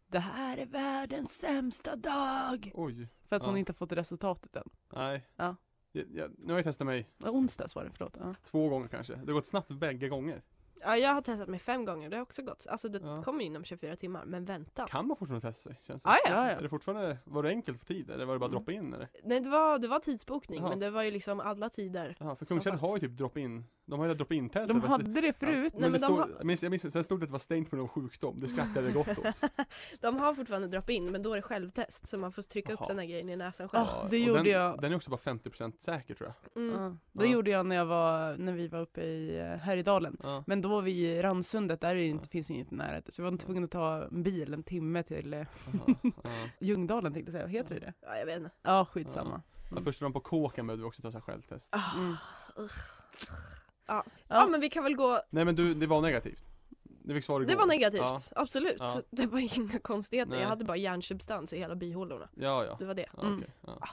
B: Det här är världens sämsta dag!
A: Oj.
B: För att hon
A: Ja.
B: inte fått resultatet än.
A: Nej.
B: Ja.
A: Jag, jag, nu har jag testat mig
B: Ja, Onsdags var det, förlåt. Ja.
A: två gånger kanske. Det har gått snabbt bägge gånger.
C: Ja, jag har testat mig fem gånger, det har också gått. Alltså det
A: Ja.
C: kommer ju inom 24 timmar, men vänta.
A: Kan man fortfarande testa sig? Känns det.
C: Ah, ja.
B: Ja,
A: Är
B: ja.
A: det fortfarande, var det enkelt för tid eller var det bara
B: Mm.
A: droppa in eller?
C: Nej, det var, det var tidsbokning,
A: Jaha.
C: men det var ju liksom alla tider.
A: Ja, för
C: Som
A: Kungsträdgården har ju
C: fanns.
A: typ drop in, de har ju drop in tält
B: De hade det förut.
A: Men, Nej, men
C: men
A: det
C: de
A: stod,
C: har-
A: jag, minns, jag minns, sen stod det att det var stängt på grund av sjukdom, det skrattade jag gott åt.
C: De har fortfarande drop in, men då är det självtest, så man får trycka
A: Jaha.
C: upp den här grejen i näsan själv.
B: Ah,
A: Ja,
B: det
A: och
B: gjorde
A: den,
B: jag.
A: Den är också bara 50% säker tror jag.
C: Mm.
B: Ja. Det
A: Ja.
B: gjorde jag när jag var, när vi var uppe i eh, Härjedalen.
A: Ja.
B: Men då var vi i Randsundet, där är ju inte,
A: Ja.
B: finns ju inget närhet. Så jag var tvungen att ta en bil en timme till eh,
A: Aha, ja.
B: Ljungdalen tänkte jag säga, heter det det?
C: Ja, jag vet inte.
B: Ja, skitsamma.
A: Ja, först dagen på kåken behövde vi också ta så här självtest.
B: Mm.
C: Ah, Ja. men vi kan väl gå,
A: Nej men du, det var negativt. Du fick svar igår.
C: det var negativt,
A: Ja,
C: absolut.
A: Ja.
C: Det var inga konstigheter,
A: Nej.
C: jag hade bara hjärnsubstans i hela bihålorna.
A: ja. ja.
C: Det var det.
A: Ja,
B: Mm.
A: okej. ja.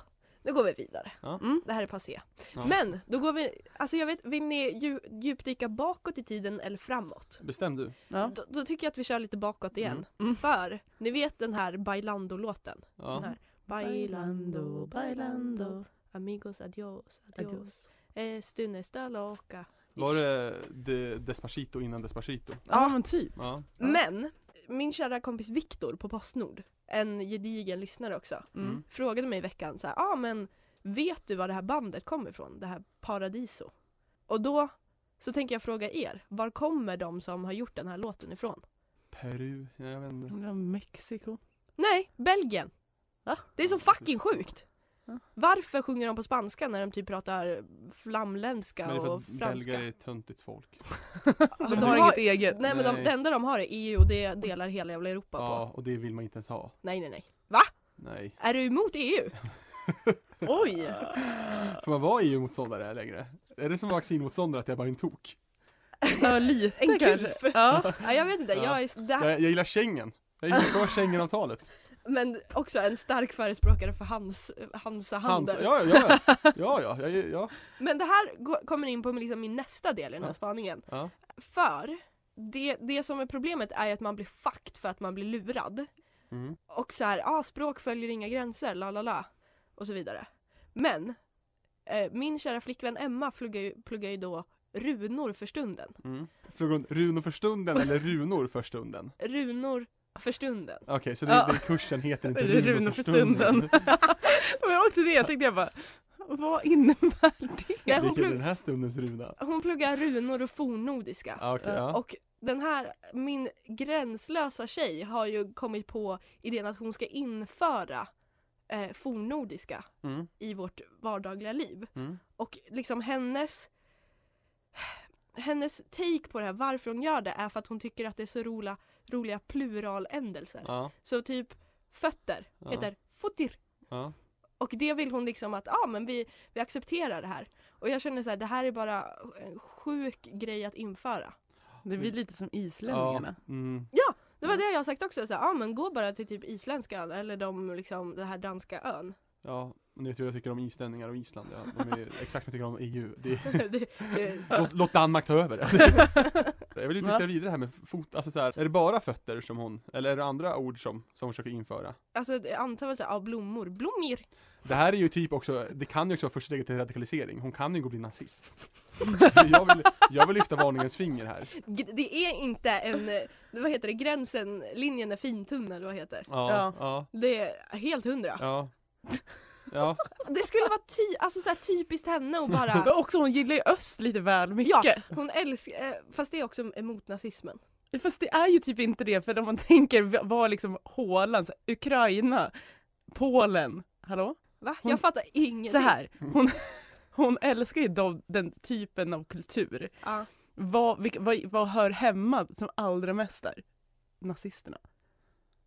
C: Nu går vi vidare.
B: Mm.
C: Det här är passé.
A: Ja.
C: Men då går vi, alltså jag vet, vill ni dju, djupdyka bakåt i tiden eller framåt?
A: Bestäm du.
B: Ja.
C: Då, då tycker jag att vi kör lite bakåt igen.
A: Mm.
B: Mm.
C: För, ni vet den här Bailando-låten? Den
A: Ja.
C: här. Bailando, bailando, amigos adios, adios. Estune esta loca.
A: Var det de, Despacito innan Despacito?
B: Ja men typ.
A: Ja.
C: Men, min kära kompis Viktor på Postnord, en gedigen lyssnare också,
B: Mm.
C: frågade mig i veckan så här, ah, men vet du var det här bandet kommer ifrån? Det här Paradiso? Och då så tänker jag fråga er, var kommer de som har gjort den här låten ifrån?
A: Peru, ja, jag vet inte.
B: Det var Mexiko.
C: Nej, Belgien!
B: Va?
C: Det är så fucking sjukt!
B: Ja.
C: Varför sjunger de på spanska när de typ pratar flamländska
A: Men det är för
C: och
A: att
C: franska?
A: belgare är ett töntigt folk.
C: Ja,
B: De
C: de
B: har
C: har-
B: inget eget.
C: Nej men de,
A: Nej.
C: det enda de har är EU och det delar hela jävla Europa
A: Ja,
C: på.
A: och det vill man inte ens ha.
C: Nej nej nej.
A: Nej.
C: Är du emot E EU?
B: Oj!
A: Får man vara EU-motståndare längre? Är det som vaccinmotståndare att jag bara är en tok?
B: Ja lite
C: En
B: kanske.
C: kulf.
B: Ja.
C: Ja, jag vet inte,
A: Ja.
C: jag är det här,
A: Jag, jag gillar Schengen. Jag gillar för Schengenavtalet.
C: men också en stark förespråkare för hans,
A: Hans,
C: Hansa-handel.
A: ja, ja, ja, ja, ja, ja, ja,
C: Men det här går- kommer in på liksom min nästa del i den här
A: Ja.
C: spaningen.
A: ja.
C: För det, det som är problemet är ju att man blir fucked för att man blir lurad.
A: Mm.
C: Och så här, ah, språk följer inga gränser, la la la. Och så vidare. Men eh, min kära flickvän Emma pluggar ju, pluggar ju då runor för stunden.
A: Mm. Frågar hon runor för stunden eller runor för stunden?
C: Runor för stunden.
A: Okej, så det,
B: Ja.
A: det kursen heter inte
B: Det är
A: runor för stunden.
B: Det var också det jag tänkte jag bara, vad innebär det?
C: Nej, hon,
A: Vilken är
C: plugg,
A: den här stundens runa?
C: hon pluggar runor och fornnordiska.
A: Ah, Okej, ja.
C: Och den här, min gränslösa tjej har ju kommit på idén att hon ska införa eh, fornnordiska
A: Mm,
C: i vårt vardagliga liv.
A: mm.
C: Och liksom hennes hennes take på det här, varför hon gör det, är för att hon tycker att det är så roliga, roliga pluraländelser.
A: Ja,
C: Så typ fötter
A: Ja.
C: heter fotir.
A: ja.
C: Och det vill hon liksom att, ja ah, men vi, vi accepterar det här. Och jag känner så här, det här är bara en sjuk grej att införa.
B: Det blir lite som islänningarna.
A: Ja, mm.
C: Det var det jag har sagt också, så här, ah, men gå bara till typ isländskan eller de, liksom, den här danska ön.
A: ja. Ni vet ju vad jag tycker om islänningar och Island, ja. de är ju exakt som jag tycker om EU. Det är,
C: det, det,
A: låt, låt Danmark ta över det. Jag vill ju diskutera vidare här med fot, alltså så här, är det bara fötter som hon, eller är det andra ord som, som hon försöker införa?
C: alltså jag antar väl såhär, ah, blommor, blommor.
A: Det här är ju typ också, det kan ju också vara första steget till radikalisering, hon kan ju gå och bli nazist. Jag vill, jag vill lyfta varningens finger här.
C: G- Det är inte en, eh, vad heter det, gränsen, linjen är fintunn eller vad det heter.
A: Ja, ja,
C: Det är helt hundra.
A: ja. Ja,
C: Det skulle vara ty, alltså, så här, typiskt henne och
B: Men
C: bara
B: också hon gillar ju öst lite väl mycket.
C: Ja, hon älskar, eh, fast det är också emot nazismen.
B: Fast det är ju typ inte det, för om man tänker v- vad liksom hålan, så här, Ukraina, Polen, hallå?
C: Va?
B: Hon-
C: jag fattar ingenting.
B: Så här, hon, hon älskar ju de, den typen av kultur.
C: Ja.
B: Vad, vilka, vad, vad hör hemma som allra mest där? Nazisterna.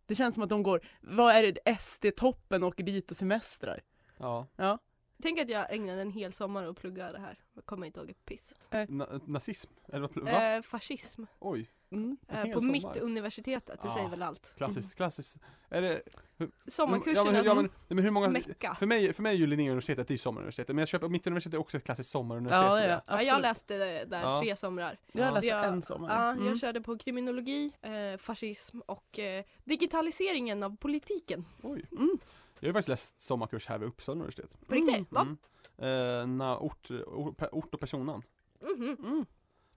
B: Det känns som att de går, vad är det, SD-toppen åker dit och semestrar?
A: ja.
C: Tänk att jag ägnade en hel sommar att plugga det här. Jag kommer inte ihåg ett piss.
A: Na nazism? Eller vad? Va?
C: Eh, fascism.
A: Oj.
B: Mm.
A: En
C: eh,
A: hel
C: på
A: sommar.
C: mitt universitetet, det
A: Ah.
C: säger väl allt.
A: Klassiskt, klassiskt. Är det, ja, men, hur-
C: Sommarkursernas
A: ja, men, nej, men hur många,
C: mecka.
A: för mig, för mig är ju Linnéuniversitetet, det är ju sommaruniversitetet, men jag köper, mitt universitet är också ett klassiskt sommaruniversitet.
B: Ja,
A: tror
B: ja,
A: jag.
C: Ja, jag
B: absolut.
C: läste där
A: Ja.
C: tre somrar.
B: Jag har
A: Ja.
B: läst
C: Jag-
B: en sommar.
C: Ja,
B: Mm.
C: Jag körde på kriminologi, eh, fascism och eh, digitaliseringen av politiken.
A: Oj.
B: Mm.
A: Jag har ju faktiskt läst sommarkurs här vid Uppsala universitet.
C: På riktigt?
B: Mm.
C: Va?
A: Mm. Eh, na, ort, or, pe- ort och personnamn.
C: Mhm.
B: Mm.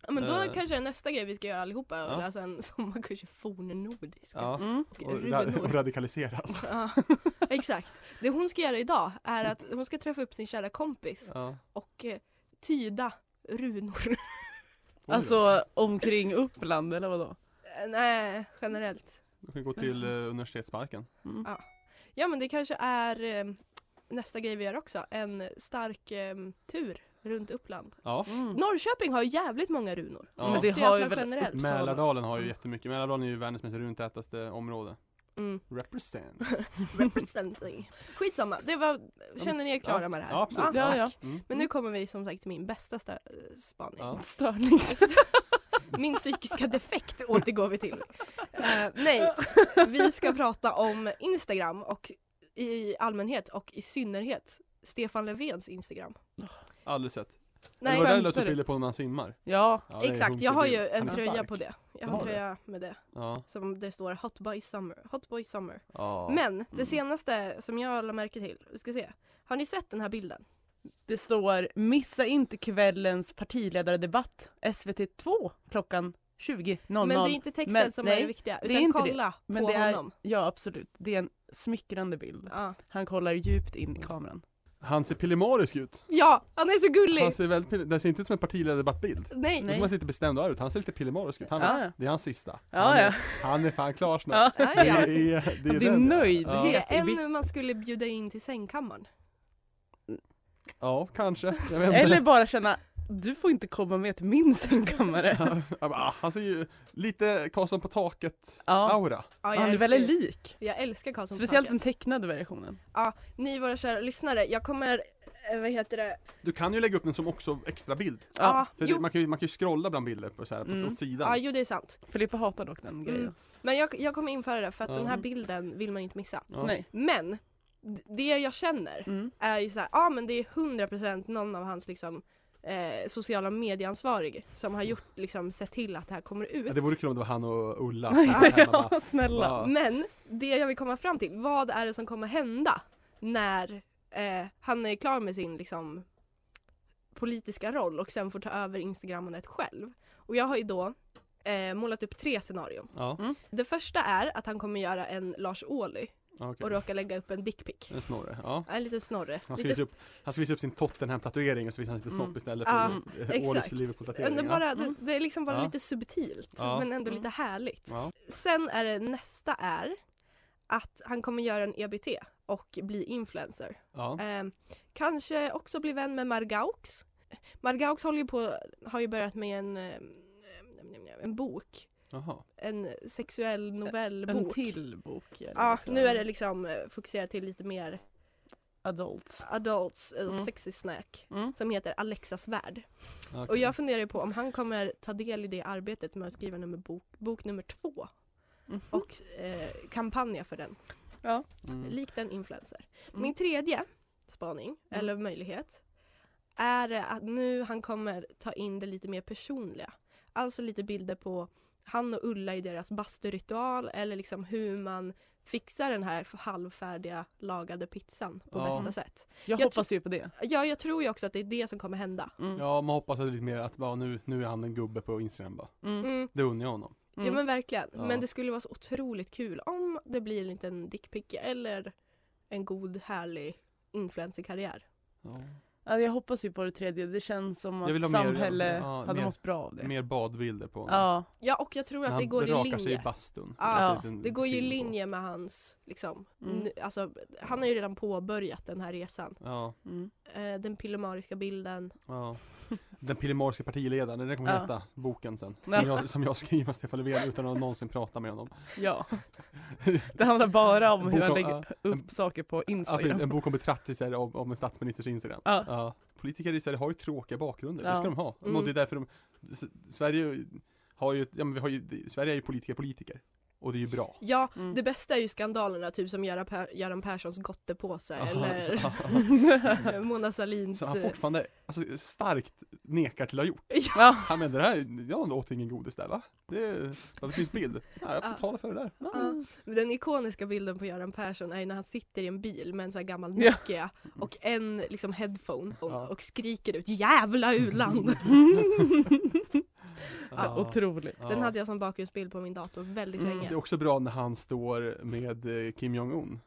C: Ja, men då
A: Eh.
C: kanske är nästa grej vi ska göra allihopa är
A: Ja.
C: att läsa en sommarkurs i fornnordiska.
A: Ja.
B: Mm.
C: och
A: Och, ra- och
C: rubenor.
A: radikaliseras.
C: Ja, exakt. Det hon ska göra idag är att hon ska träffa upp sin kära kompis
A: Ja.
C: och eh, tyda runor.
A: Oj då.
B: Alltså omkring Uppland eller vadå?
C: Eh, Nej, generellt.
A: Då kan vi gå till eh, universitetsparken.
B: Mm.
C: Ja men det kanske är eh, nästa grej vi gör också, en stark eh, tur runt Uppland.
A: Ja.
B: Mm.
C: Norrköping har ju jävligt många runor.
A: Ja.
C: Men det Mm. har ju väl generellt.
B: Uppsala.
A: Mälardalen har ju jättemycket, Mälardalen är ju världens mest runtätaste område.
C: Mm.
A: Represent.
C: Representing. Skitsamma, det var, känner ni er klara
A: Ja.
C: med det här?
A: Ja, absolut.
B: Ja, ja.
C: tack.
A: Mm.
C: Men nu kommer vi som sagt till min bästa sta- eh, spaning.
A: Ja.
B: Störnings...
C: Min psykiska defekt återgår vi till. Eh, nej, vi ska prata om Instagram och i allmänhet och i synnerhet Stefan Löfvens Instagram.
A: Aldrig sett.
C: Nej,
A: det var där du la
B: Skämtar
A: upp
B: du?
A: bilder på när han simmar.
B: Ja,
A: Ja, det är
C: exakt.
A: runkig
C: Jag har
A: bild.
C: ju en
A: Han är
C: tröja
A: stark.
C: på det. Jag
A: Du
C: har en
A: har det?
C: tröja med det
A: Ja.
C: som det står Hot Boy Summer. Hot Boy Summer.
A: ja.
C: Men det
B: Mm.
C: senaste som jag la märke till, vi ska se. Har ni sett den här bilden?
B: det står “Missa inte kvällens partiledardebatt SVT 2 klockan 20.00”.
C: Men det är inte texten
B: Men-
C: som är
B: nej,
C: det viktiga,
B: det är
C: utan
B: inte det.
C: kolla
B: Men
C: på
B: det är-
C: honom.
B: Ja absolut, det är en smickrande bild.
C: Ja.
B: Han kollar djupt in i kameran.
A: Han ser pillemarisk ut.
C: ja, han är så gullig!
A: Han ser väldigt pille- den ser inte ut som en partiledardebattbild.
C: Nej,
A: Nej.
B: Nej.
A: Man ser lite bestämd och arg ut, han ser lite pillemarisk ut.
C: Ah.
A: Han,
B: Ja, ja.
A: Det är hans sista.
B: Ja,
A: han,
B: ja.
A: är, han är fan klar snart.
B: Ja.
C: Ja,
A: Det
C: Ah, ja.
A: är, det är,
B: Det är
A: den, ja.
B: nöjdhet.
C: Det
A: Ja,
C: är
B: i bild-
C: en man skulle bjuda in till sängkammaren.
A: ja kanske. Jag vet inte.
B: Eller bara känna, du får inte komma med till min sängkammare. Ja,
A: Ja, ja, bara, ah, han ser ju lite Karlsson på taket
B: ja.
A: aura.
C: Ja,
B: han är
C: älskar
B: väldigt
C: ju-
B: lik.
C: Jag älskar Karlsson på
B: Speciellt den
C: taket.
B: tecknade versionen.
C: Ni våra kära lyssnare, jag kommer, eh, vad heter det?
A: Du kan ju lägga upp den som också extra bild.
C: Ja,
A: För
C: jo,
A: det, man, kan ju, man kan ju scrolla bland bilder på, så här, på
B: Mm.
A: åt sidan.
C: ja, jo det är sant.
B: Filippa hatar dock den grejen.
C: Men jag, jag kommer införa det för att
A: Ja.
C: den här bilden vill man inte missa.
A: Ja.
B: Nej.
C: Men d- det jag känner
B: Mm.
C: är ju såhär, ja men det är 100% någon av hans liksom eh, sociala medieansvarig som har gjort liksom sett till att det här kommer ut.
A: Ja, det vore kul om det var han och Ulla.
B: ja, snälla.
A: Ah. Wow.
C: Men det jag vill komma fram till, vad är det som kommer hända när eh, han är klar med sin liksom, politiska roll och sen får ta över Instagramandet själv? Och jag har ju då eh, målat upp tre scenarion.
A: Ja,
C: Det första är att han kommer göra en Lars Ohly
A: okej.
C: och råka lägga upp en dickpic.
A: En snorre, ja.
C: En liten snorre.
A: Han ska,
C: Lite,
A: visa upp, han ska visa upp sin Tottenham-tatuering och så visar han lite
B: Mm.
A: snopp istället
C: Ja,
A: för eh, Ålus
C: exakt.
A: Liverpool-tatuering.
C: det,
A: ja.
C: bara, det,
B: Mm.
C: det är liksom bara
A: Ja.
C: lite subtilt
A: Ja.
C: men ändå
B: Mm.
C: lite härligt.
A: Ja.
C: Sen är det nästa är att han kommer göra en EBT och bli influencer.
A: Ja.
C: Ehm, kanske också bli vän med Margaux. Margaux håller ju på, har ju börjat med en, ehm, en bok.
A: Jaha.
C: En sexuell novellbok.
B: En till bok. eller
C: Ja,
B: något
C: nu är det
B: sånt.
C: liksom eh, fokuserat till lite mer
B: Adults.
C: adults, eh,
B: Mm.
C: sexy snack.
B: Mm.
C: Som heter Alexas värld.
A: okej.
C: Och jag funderar ju på om han kommer ta del i det arbetet med att skriva nummer bok, bok nummer två.
B: Mhm.
C: Och eh, kampanja för den.
A: Mm.
C: Likt en influencer.
B: Mm.
C: Min tredje spaning, eller möjlighet, är att nu han kommer ta in det lite mer personliga. Alltså lite bilder på han och Ulla i deras basturitual eller liksom hur man fixar den här halvfärdiga lagade pizzan på
A: Ja.
C: bästa sätt.
B: Jag,
C: Jag
B: hoppas ju på det.
C: Ja, jag tror ju också att det är det som kommer hända.
B: Mm.
A: Ja, man hoppas att det är lite mer att bara, nu, nu är han en gubbe på Instagram bara.
B: Mm.
C: Mm.
A: Det unnar jag honom.
B: Mm.
C: Ja men verkligen.
A: Ja.
C: Men det skulle vara så otroligt kul om det blir en liten dickpic eller en god härlig influencerkarriär.
A: Ja.
B: Alltså, jag hoppas ju på det tredje, det känns som
A: Jag vill
B: att
A: ha mer-
B: samhälle
A: ja,
B: hade
A: mer-
B: mått bra av det.
A: Mer badbilder på honom.
B: ja,
C: Ja och jag tror
A: När
C: att det
A: han
C: går i
A: rakar sig i
C: linje.
A: bastun.
C: Ja,
A: Alltså, en liten
C: Det går ju i
A: film på.
C: linje med hans, liksom,
B: Mm.
C: nu, alltså, han har ju redan påbörjat den här resan.
A: Ja,
B: mm.
C: Eh, den pillemariska bilden.
A: ja. Den pillemariska partiledaren, den kommer
B: Ja.
A: heta boken sen. Som,
B: Ja.
A: jag, som jag skriver med Stefan Löfven utan att någonsin prata med honom.
B: ja. Det handlar bara om hur
A: Bok
B: han
A: om-
B: lägger
A: en-
B: upp saker på
A: Ja, precis, en
B: Instagram.
A: bok om betraktelser om, om en statsministers Instagram.
B: Ja.
A: Ja. Politiker i Sverige har ju tråkiga bakgrunder, det
B: Ja.
A: ska de ha.
C: Mm.
A: Och det är därför de, S- Sverige har ju, ja men vi har ju, Sverige är ju politiker politiker. Och det är ju bra.
C: Ja,
B: Mm.
C: det bästa är ju skandalerna, typ som Göran, per- Göran Perssons gottepåse eller eh, Mona Sahlins...
A: Så han fortfarande, alltså starkt nekar till att ha gjort.
B: Ja.
A: Han menar det här, jag åt ingen godis där va? Det, ja, det finns bild. Ja, jag får
C: Ja.
A: betala för det där. Ja.
B: Ah.
C: Ja, men den ikoniska bilden på Göran Persson är ju när han sitter i en bil med en sån här gammal
B: Ja.
C: Nokia och en liksom headphone och,
A: Ja.
C: och skriker ut jävla u-land!
B: Ja, otroligt.
A: Ja.
C: Den hade jag som bakgrundsbild på min dator väldigt
B: Mm.
A: Fast Det
C: länge.
A: är också bra när han står med eh, Kim Jong-Un.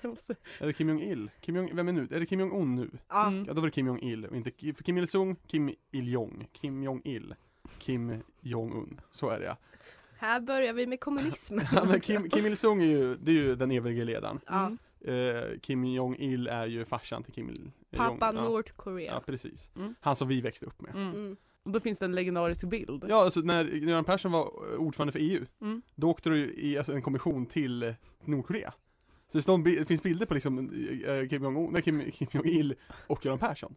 B: Jag måste-
A: Eller Kim Jong-Il? Kim Jong, vem är nu? Är det Kim Jong-Un nu?
C: Ja,
B: Mm.
A: Ja, då var det Kim Jong-Il och inte Ki- för Kim Il-Sung, Kim Il-Jong, Kim Jong-Il, Kim Jong-Un. Så är det ja.
C: Här börjar vi med kommunismen.
A: ja men Kim, Kim Il-Sung är ju, det är ju den evige ledaren.
C: Ja,
B: Mm.
A: Eh, Kim Jong-Il är ju farsan till Kim Il-Jong.
C: pappa
A: ja. Ja,
C: Nordkorea.
A: precis.
B: Mm.
A: Han som vi växte upp med.
B: Mm.
C: Mm.
B: Och då finns det en legendarisk bild.
A: Ja, alltså när Göran Persson var eh, ordförande för EU,
B: Mm.
A: då åkte du i alltså, en kommission till eh, Nordkorea. Så det, står en bi- det finns bilder på liksom eh, Kim Jong-Un, nej, Kim, Kim Jong-Il och Göran Persson.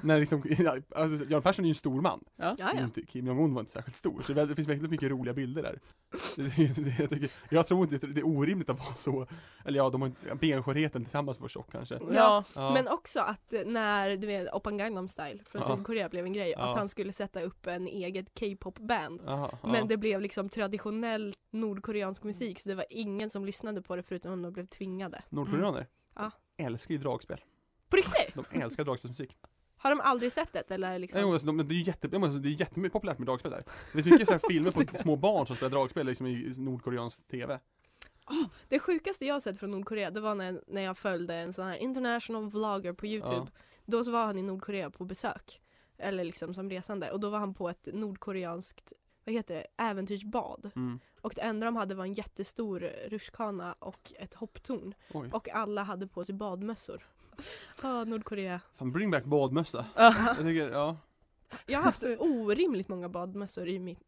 A: När liksom, alltså Göran Persson är ju en stor man,
C: Ja, ja.
A: inte, Kim Jong-Un var inte särskilt stor, så det finns väldigt mycket roliga bilder där. Det, det, det, jag, tycker, jag tror inte det är orimligt att vara så, eller ja, de har inte, benskörheten tillsammans var tjock kanske.
B: Ja.
A: Ja.
C: Men också att eh, när, du vet, Open Gangnam Style från
A: Ja.
C: Sydkorea blev en grej,
A: Ja.
C: att han skulle sätta upp en eget K-pop-band.
A: Aha, ja.
C: Men det blev liksom traditionell nordkoreansk musik så det var ingen som lyssnade på det förutom om de blev tvingade.
A: Nordkoreaner
C: mm. Ja.
A: älskar ju dragspel.
C: På riktigt?
A: De älskar dragspelsmusik.
C: Har de aldrig sett det eller liksom?
A: Nej, jo, alltså, de, det är ju jätte, jag menar, det är jättemycket populärt med dragspel där. Det finns mycket så här filmer på små barn som spelar dragspel liksom i nordkoreansk TV.
C: Det sjukaste jag har sett från Nordkorea det var när, när jag följde en sån här international vlogger på youtube. Då så var han i Nordkorea på besök. Eller liksom som resande och då var han på ett nordkoreanskt vad heter det? Äventyrsbad.
A: Mm.
C: Och det enda de hade var en jättestor rutschkana och ett hopptorn.
A: Oj,
C: Och alla hade på sig badmössor. Ja, Nordkorea.
A: fan bring back badmössa.
B: Ja.
A: Jag tycker, ja.
C: Jag har haft
A: Alltså-
C: orimligt många badmössor i mitt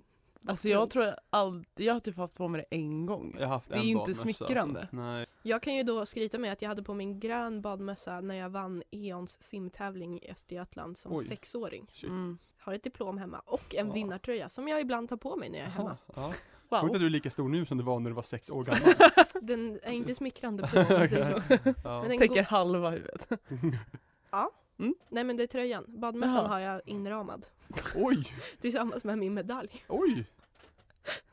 B: Alltså jag tror ald- jag har typ haft på mig det en gång.
A: Jag har haft
B: Det är
A: en
B: inte
A: badmössa,
B: smickrande.
A: Alltså. Nej.
C: Jag kan ju då skryta med att jag hade på min grön badmössa när jag vann Eons simtävling i Östergötland som
A: Oj.
C: sexåring.
A: Shit.
B: Mm.
C: Har ett diplom hemma och en
A: Ja.
C: vinnartröja som jag ibland tar på mig när jag är
A: Jaha,
C: hemma.
A: ja. Sjukt att
B: Wow.
A: du är lika stor nu som du var när du var sex år gammal.
C: Den är inte smickrande på om man säger så.
A: Ja.
C: Men den
B: Täcker
C: går...
B: halva huvudet.
C: Nej men det är tröjan. Badmössan
B: Jaha.
C: har jag inramad
A: Oj,
C: tillsammans med min medalj.
A: oj,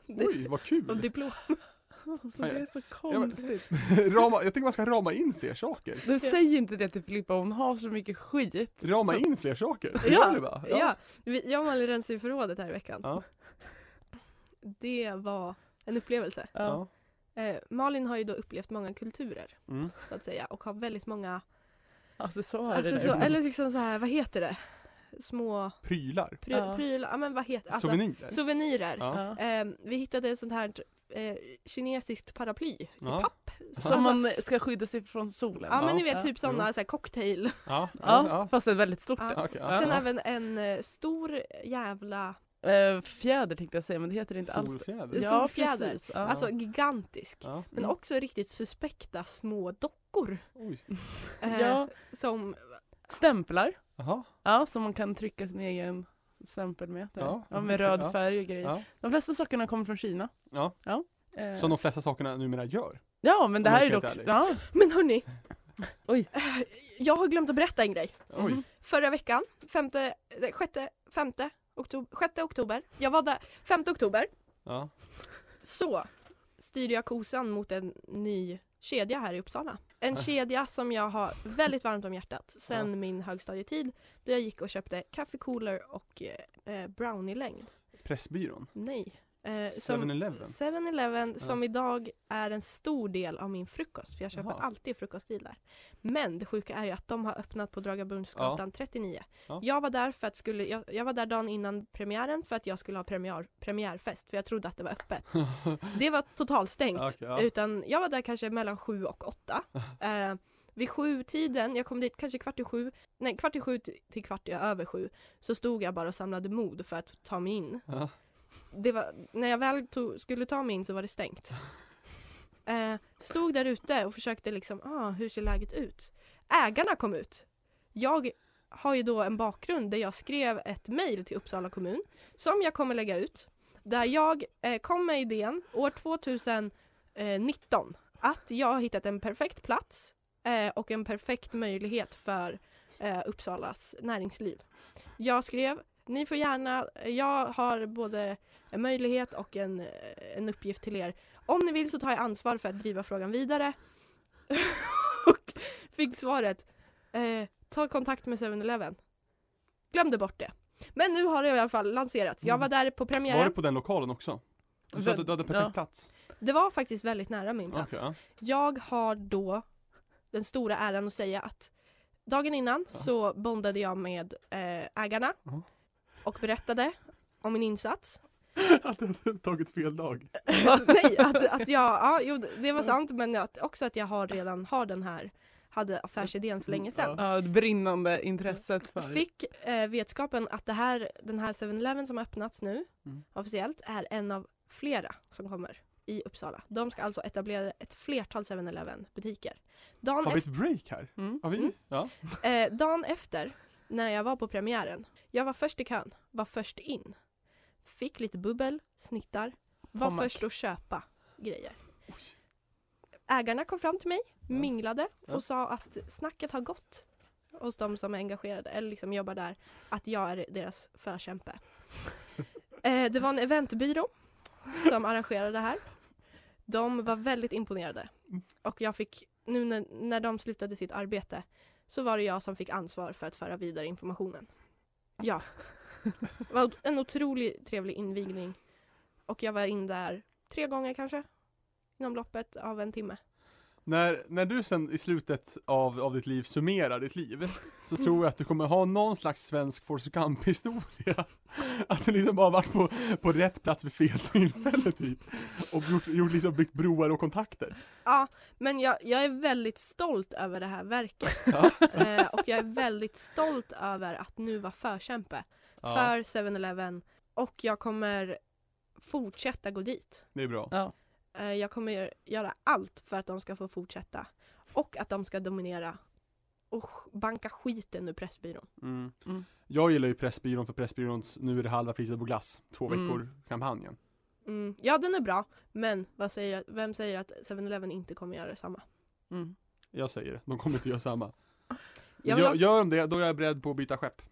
C: Det-
A: oj, vad
C: Och
A: kul!
C: diplom.
B: Alltså
A: Fan,
B: det
A: jag-
B: är så konstigt.
A: Rama, jag tycker man ska rama in fler saker.
B: Du säger inte det till Filippa, hon har så mycket skit.
A: Rama
B: Så-
A: in fler saker.
C: Ja,
A: Gör det bara.
C: Ja, vi- jag och Malin rensade ju förrådet här i veckan.
A: Ja.
C: Det var en upplevelse.
B: Ja.
C: Eh, Malin har ju då upplevt många kulturer
A: Mm.
C: så att säga och har väldigt många
B: Accessoarer.
C: Alltså
B: där.
C: så, eller liksom så här, vad heter det? Små
A: Prylar,
C: pryl,
B: Ja.
C: prylar, ja men vad heter alltså,
A: souvenirer.
C: Souvenirer.
A: Ja.
B: Ja.
C: Ehm, vi hittade ett sånt här eh, kinesiskt paraply i
A: Ja.
C: papp. Så,
B: Som
C: så,
B: man ska skydda sig från solen.
C: ja men ni
A: Ja.
C: vet typ sådana
A: Mm.
C: så här cocktail.
A: Ja,
B: Ja,
A: ja,
B: fast ett väldigt stort
C: Ja.
B: ett.
A: Okej, ja.
C: Sen även en eh, stor jävla,
B: Eh, Fjäder tänkte jag säga men det heter inte alls det.
A: Solfjäder.
C: Ja. Solfjäder.
B: precis. Ja.
C: alltså gigantisk.
A: Ja.
C: Men
B: Mm.
C: också riktigt suspekta små dockor.
A: Oj.
C: eh,
B: ja,
C: Som,
B: stämplar.
A: Jaha.
B: Ja, som man kan trycka sin egen stämpel med. där.
A: Ja.
B: Ja, med röd
A: Ja.
B: färg och grejer.
A: Ja.
B: De flesta sakerna kommer från Kina.
A: Ja.
B: Ja, Eh,
A: Som de flesta sakerna numera gör.
B: ja men det
A: Om jag
B: här är
A: ska
B: dock...
A: vara helt
B: Ja,
C: men hörni!
B: Oj.
C: Eh, Jag har glömt att berätta en grej.
A: Oj.
B: Mhm.
C: förra veckan, femte, nej, sjätte, femte, oktober, sjätte oktober. Jag var där, femte oktober,
A: Ja.
C: så styrde jag kosan mot en ny kedja här i Uppsala. En kedja som jag har väldigt varmt om hjärtat sen min högstadietid då jag gick och köpte kaffekoler och eh, eh, brownie-längd.
A: Pressbyrån.
C: Nej. Eh, som
A: 7-Eleven.
C: 7-Eleven som idag är en stor del av min frukost för jag köper
A: Jaha.
C: alltid frukostdeal där. Men det sjuka är ju att de har öppnat på Dragarbrunnsgatan 39.
A: Ja.
C: Jag, var där för att skulle, jag, jag var där dagen innan premiären för att jag skulle ha premiär, premiärfest för jag trodde att det var öppet. det var totalstängt.
A: Okej, ja.
C: Utan jag var där kanske mellan 7 och 8. eh, vid sju-tiden, jag kom dit kanske kvart i sju, nej kvart i sju t- till kvart i över sju, så stod jag bara och samlade mod för att ta mig in
A: Ja.
C: det var, när jag väl tog, skulle ta mig in så var det stängt. Eh, stod där ute och försökte liksom, ah, hur ser läget ut? Ägarna kom ut. Jag har ju då en bakgrund där jag skrev ett mejl till Uppsala kommun som jag kommer lägga ut. Där jag eh, kom med idén år 2019 att jag har hittat en perfekt plats eh, och en perfekt möjlighet för eh, Uppsalas näringsliv. Jag skrev, ni får gärna, jag har både en möjlighet och en, eh, en uppgift till er. Om ni vill så tar jag ansvar för att driva frågan vidare. och fick svaret, eh, ta kontakt med 7-Eleven. Glömde bort det. Men nu har det i alla fall lanserats. Jag var där på premiären.
A: Mm. Var det på den lokalen också? Du sa att du- du hade en perfekt
B: Ja.
A: plats?
C: Det var faktiskt väldigt nära min plats.
A: Okej, ja.
C: Jag har då den stora äran att säga att dagen innan
A: Ja.
C: så bondade jag med eh, ägarna
A: Ja.
C: och berättade om min insats.
A: Att du hade tagit fel dag.
C: Nej, att, att jag, ja, jo, det var sant men att, också att jag har redan har den här, hade affärsidén för
A: Mm,
C: länge sedan.
B: Ja, det brinnande intresset för...
C: Fick eh, vetskapen att det här, den här 7-Eleven som har öppnats nu
A: Mm.
C: officiellt är en av flera som kommer i Uppsala. De ska alltså etablera ett flertal 7-Eleven butiker. Dagen
A: Har vi ett break här?
B: Mm.
A: Har vi?
C: Mm.
A: Ja.
C: Eh, dagen efter, när jag var på premiären, jag var först i kön, var först in. Fick lite bubbel, snittar, var
B: Pommack.
C: först att köpa grejer. Ägarna kom fram till mig, minglade och
A: Ja.
C: sa att snacket har gått hos de som är engagerade eller liksom jobbar där, att jag är deras förkämpe. eh, det var en eventbyrå som arrangerade det här. De var väldigt imponerade och jag fick, nu när, när de slutade sitt arbete, så var det jag som fick ansvar för att föra vidare informationen. Ja. Det var en otroligt trevlig invigning. Och jag var in där tre gånger kanske. Inom loppet av en timme.
A: När, när du sen i slutet av, av ditt liv summerar ditt liv Så tror jag att du kommer ha någon slags svensk Forrest Gump historia Att du liksom bara varit på, på rätt plats vid fel tillfälle typ Och gjort, gjort liksom byggt broar och kontakter
C: Ja, men jag, jag är väldigt stolt över det här verket.
A: Ja.
C: Eh, och jag är väldigt stolt över att nu vara förkämpe för 7-Eleven. Och jag kommer fortsätta gå dit.
A: Det är bra
B: Ja.
C: Eh, Jag kommer göra allt för att de ska få fortsätta. Och att de ska dominera och sk- banka skiten ur Pressbyrån.
A: mm.
B: Mm.
A: Jag gillar ju Pressbyrån för Pressbyråns Nu är det halva priset på glass Två
B: Mm.
A: veckor kampanjen
C: Mm. Ja, den är bra. Men vad säger, vem säger att 7-Eleven inte kommer göra detsamma?
B: Mm.
A: Jag säger det, de kommer inte göra samma
C: Jag
A: jag
C: vill
A: gör,
C: ha-
A: gör de det, då är jag beredd på att byta skepp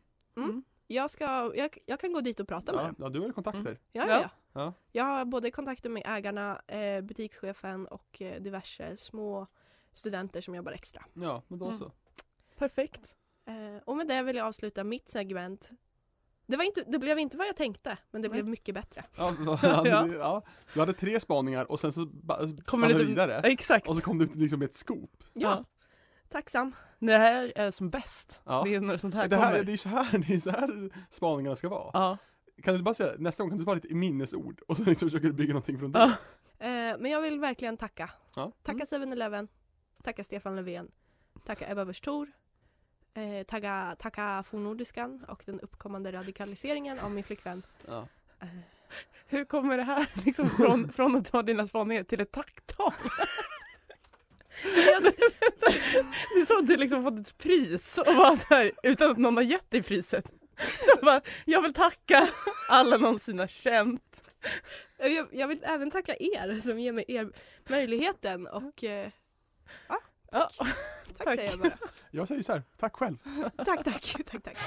C: Jag, ska, jag, jag kan gå dit och prata med
A: Ja, Mm.
C: dem.
A: ja du har ju kontakter
C: Ja,
B: Ja.
C: ja. ja.
A: Ja.
C: Jag har både kontakter med ägarna, eh, butikschefen och eh, diverse små studenter som jobbar extra.
A: Ja, men då
B: Mm.
A: så
B: Perfekt.
C: Eh, och med det vill jag avsluta mitt segment. Det, var inte, det blev inte vad jag tänkte, men det
B: Nej.
C: blev mycket bättre.
A: Ja, ja.
B: Ja.
A: ja. Du hade tre spaningar och sen så ba- spann
B: lite-
A: du vidare
B: Exakt.
A: Och så kom du ut liksom med ett scoop.
C: Ja, tacksam.
B: Det här är som bäst.
A: Ja.
B: Det är när sånt här
A: Det, här,
B: kommer.
A: det är så här, det är så här spaningarna ska vara.
B: Ja.
A: Kan du bara säga, nästa gång kan du bara lite minnesord och sen liksom försöker du bygga någonting från det.
B: Ja.
C: Eh, men jag vill verkligen tacka.
A: Ja. Mm.
C: Tacka 7-Eleven, tacka Stefan Löfven, tacka Ebba Busch Thor, eh, tacka, tacka Fornordiskan och den uppkommande radikaliseringen av min flickvän.
A: Ja.
B: Hur kommer det här liksom från, från att ta dina spaningar till ett tacktal?
C: Jag,
B: Det är som att du liksom fått ett pris och bara så här, utan att någon har gett dig priset. Så bara, jag vill tacka alla någonsin har känt.
C: Eh, jag, jag vill även tacka er som ger mig er möjligheten och eh,
B: Ja.
C: tack,
B: Tack.
C: säger jag bara.
A: Jag säger så här, tack själv.
C: Tack, tack, tack, tack.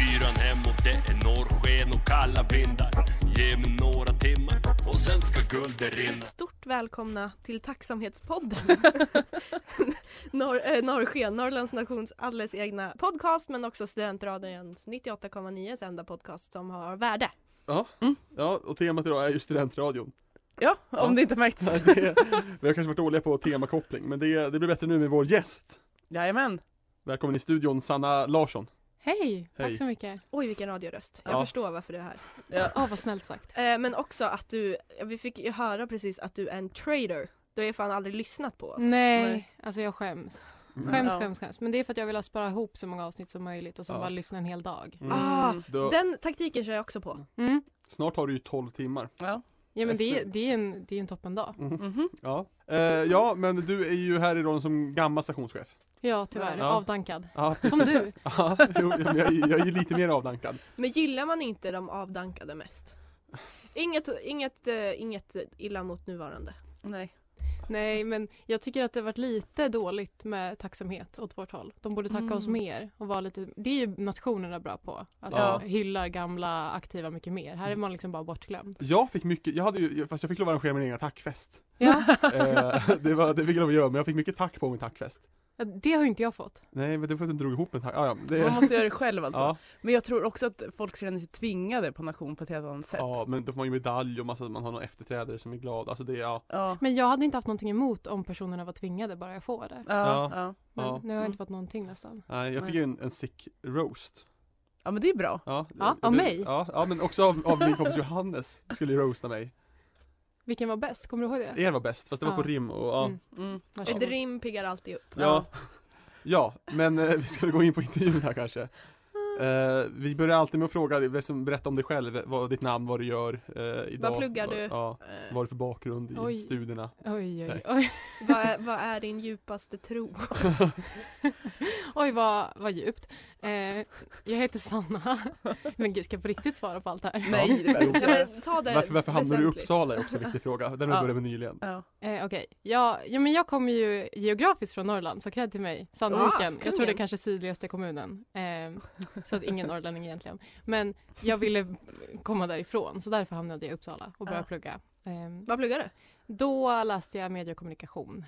D: Fyran hemåt, det är norrsken och kalla vindar Ge mig några timmar och sen ska guldet rinna
C: Stort välkomna till Tacksamhetspodden. Norr, eh, Norrsken, Norrlands nations alldeles egna podcast men också Studentradions 98,9s enda podcast som har värde.
A: Ja, och temat idag är ju studentradion.
B: Ja, om
A: Ja.
B: det inte
A: Ja,
B: märkts.
A: det, vi har kanske varit dåliga på temakoppling, men det, det blir bättre nu med vår gäst.
B: Jajamän.
A: Välkommen i studion, Sanna Larsson.
G: Hej!
A: Hej.
G: Tack så mycket.
C: Oj vilken radioröst, jag
A: Ja.
C: förstår varför du är här.
G: Ja, vad snällt sagt.
C: Eh, men också att du, vi fick ju höra precis att du är en trader. Du har ju fan aldrig lyssnat på oss.
G: Nej, alltså jag skäms. Skäms,
B: Ja.
G: skäms, skäms. Men det är för att jag vill ha spara ihop så många avsnitt som möjligt och sen
A: Ja.
G: bara lyssna en hel dag.
A: Mm.
C: Ah,
A: Då,
C: Den taktiken kör jag också på.
G: Mm.
A: snart har du ju 12 timmar.
B: Ja.
G: Ja men det är,
A: Efter-
G: det är en, det är en toppendag.
B: Mhm.
A: Ja. Eh, ja, men du är ju här i rollen som gammal stationschef.
G: Ja tyvärr,
A: Ja.
G: avdankad.
A: Ja,
G: Som du.
A: ja, jo, men jag, jag är ju lite mer avdankad.
C: Men gillar man inte de avdankade mest? Inget, inget, eh, inget illa mot nuvarande.
B: Nej.
G: Nej men jag tycker att det har varit lite dåligt med tacksamhet åt vårt håll. De borde tacka oss
B: Mm.
G: mer och vara lite, det är ju nationerna bra på. Att
A: Ja.
G: de hyllar gamla aktiva mycket mer. Här är man liksom bara bortglömd.
A: Jag fick mycket, jag hade ju, fast jag fick lov att arrangera min egen tackfest.
G: Ja,
A: Eh, det, var, det fick jag lov att göra, men jag fick mycket tack på min tackfest.
G: det har ju inte jag fått.
A: Nej, men det var för att du drog ihop en tack. Ah, ja, det,
B: Man måste göra det själv alltså.
A: ja,
B: Men jag tror också att folk känner sig tvingade på nation på ett helt annat sätt.
A: ja, men då får man ju medalj och massa, man har någon efterträdare som är glad. Alltså det, ja.
B: Ja.
G: Men jag hade inte haft någonting emot om personerna var tvingade bara jag får det.
B: Ja,
A: Ja.
B: ja.
G: Men
A: Ja.
G: nu har jag inte fått någonting nästan.
A: Nej, jag fick ju en, en sick roast.
B: ja men det är bra.
A: Ja,
G: Ja,
A: det-
G: av
A: det-
G: mig?
A: Ja, ja men också av, av min kompis Johannes skulle ju roasta mig.
G: Vilken var bäst? Kommer du ihåg det?
A: Er var bäst, fast det var
G: Ja.
A: på rim och ja.
G: Mm.
B: Mm.
G: Varsågod.
C: Ett rim piggar alltid upp.
A: Ja, ja men eh, vi ska väl gå in på intervjun här kanske. Eh, vi börjar alltid med att fråga, dig, liksom, berätta om dig själv, vad ditt namn, vad du gör eh, idag.
C: Vad pluggar
A: Vad-
C: du?
A: Ja,
C: Eh,
A: vad har du för bakgrund i
G: Oj.
A: studierna?
G: Oj, oj,
A: Nej.
G: oj.
C: vad, är, vad är din djupaste tro?
G: Oj, vad, vad djupt. Eh, jag heter Sanna. Men gud, ska jag på riktigt svara på allt det här?
B: Nej, det
A: Jo.
B: behöver
C: Nej,
B: jag inte.
C: men, ta det
A: Varför, varför hamnade du i
C: väsentligt.
A: Uppsala är också en viktig fråga, den har
B: Ja.
A: vi börjat med nyligen.
B: Ja.
G: Eh, Okej, ja, ja, men jag kommer ju geografiskt från Norrland, så cred till mig. Sandviken, jag tror det
C: kungen.
G: är kanske sydligaste kommunen. Eh, så att ingen norrlänning egentligen. Men jag ville komma därifrån, så därför hamnade jag i Uppsala och började
C: Ja.
G: plugga. Eh,
C: Vad pluggar du?
G: då läste jag medie och kommunikation.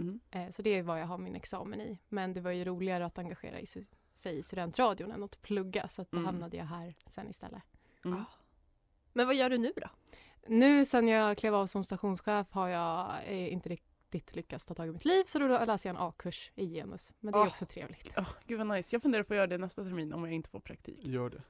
B: Mm.
G: Eh, så det är vad jag har min examen i. Men det var ju roligare att engagera i, su- sig i studentradion än att plugga, så att då
B: Mm.
G: hamnade jag här sen istället.
B: Mm.
C: Men vad gör du nu då?
G: Nu sen jag klev av som stationschef har jag eh, inte riktigt lyckats ta tag i mitt liv så då läser jag en A-kurs i genus. Men det är
C: Ah.
G: också trevligt.
B: Åh, gud vad nice. Jag funderar på att göra det nästa termin om jag inte får praktik.
A: Gör det.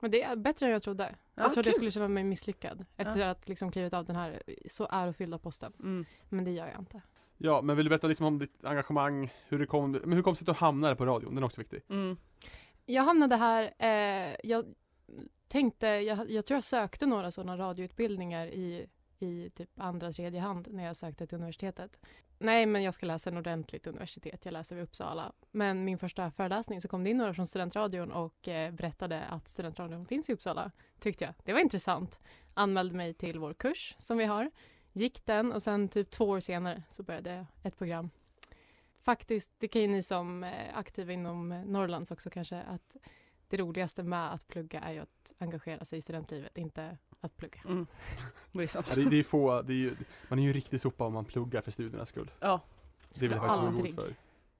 G: Men det är bättre än jag trodde.
B: Ja,
G: jag trodde jag
B: kul.
G: skulle känna mig misslyckad efter att liksom klivit av den här så ärofyllda posten.
B: Mm.
G: Men det gör jag inte.
A: Ja, men vill du berätta liksom om ditt engagemang, hur det kom, men hur kom det sig att du hamnade på radion? Den är också viktig.
B: Mm.
G: Jag hamnade här, eh, jag tänkte, jag, jag tror jag sökte några sådana radioutbildningar i, i typ andra, tredje hand när jag sökte till universitetet. Nej, men jag ska läsa en ordentligt universitet, jag läser vid Uppsala. Men min första föreläsning så kom det in några från studentradion och eh, berättade att studentradion finns i Uppsala, tyckte jag. Det var intressant. Anmälde mig till vår kurs som vi har, gick den och sen typ två år senare så började jag ett program. Faktiskt, det kan ju ni som eh, aktiva inom eh, Norrlands också kanske, att det roligaste med att plugga är ju att engagera sig i studentlivet, inte att plugga.
B: Mm. Det är sant.
A: Ja, det, det är få, det är ju, man är ju en riktig sopa om man pluggar för studiernas skull.
B: Ja.
A: Det vill jag faktiskt vara god
G: Aldrig.
A: för.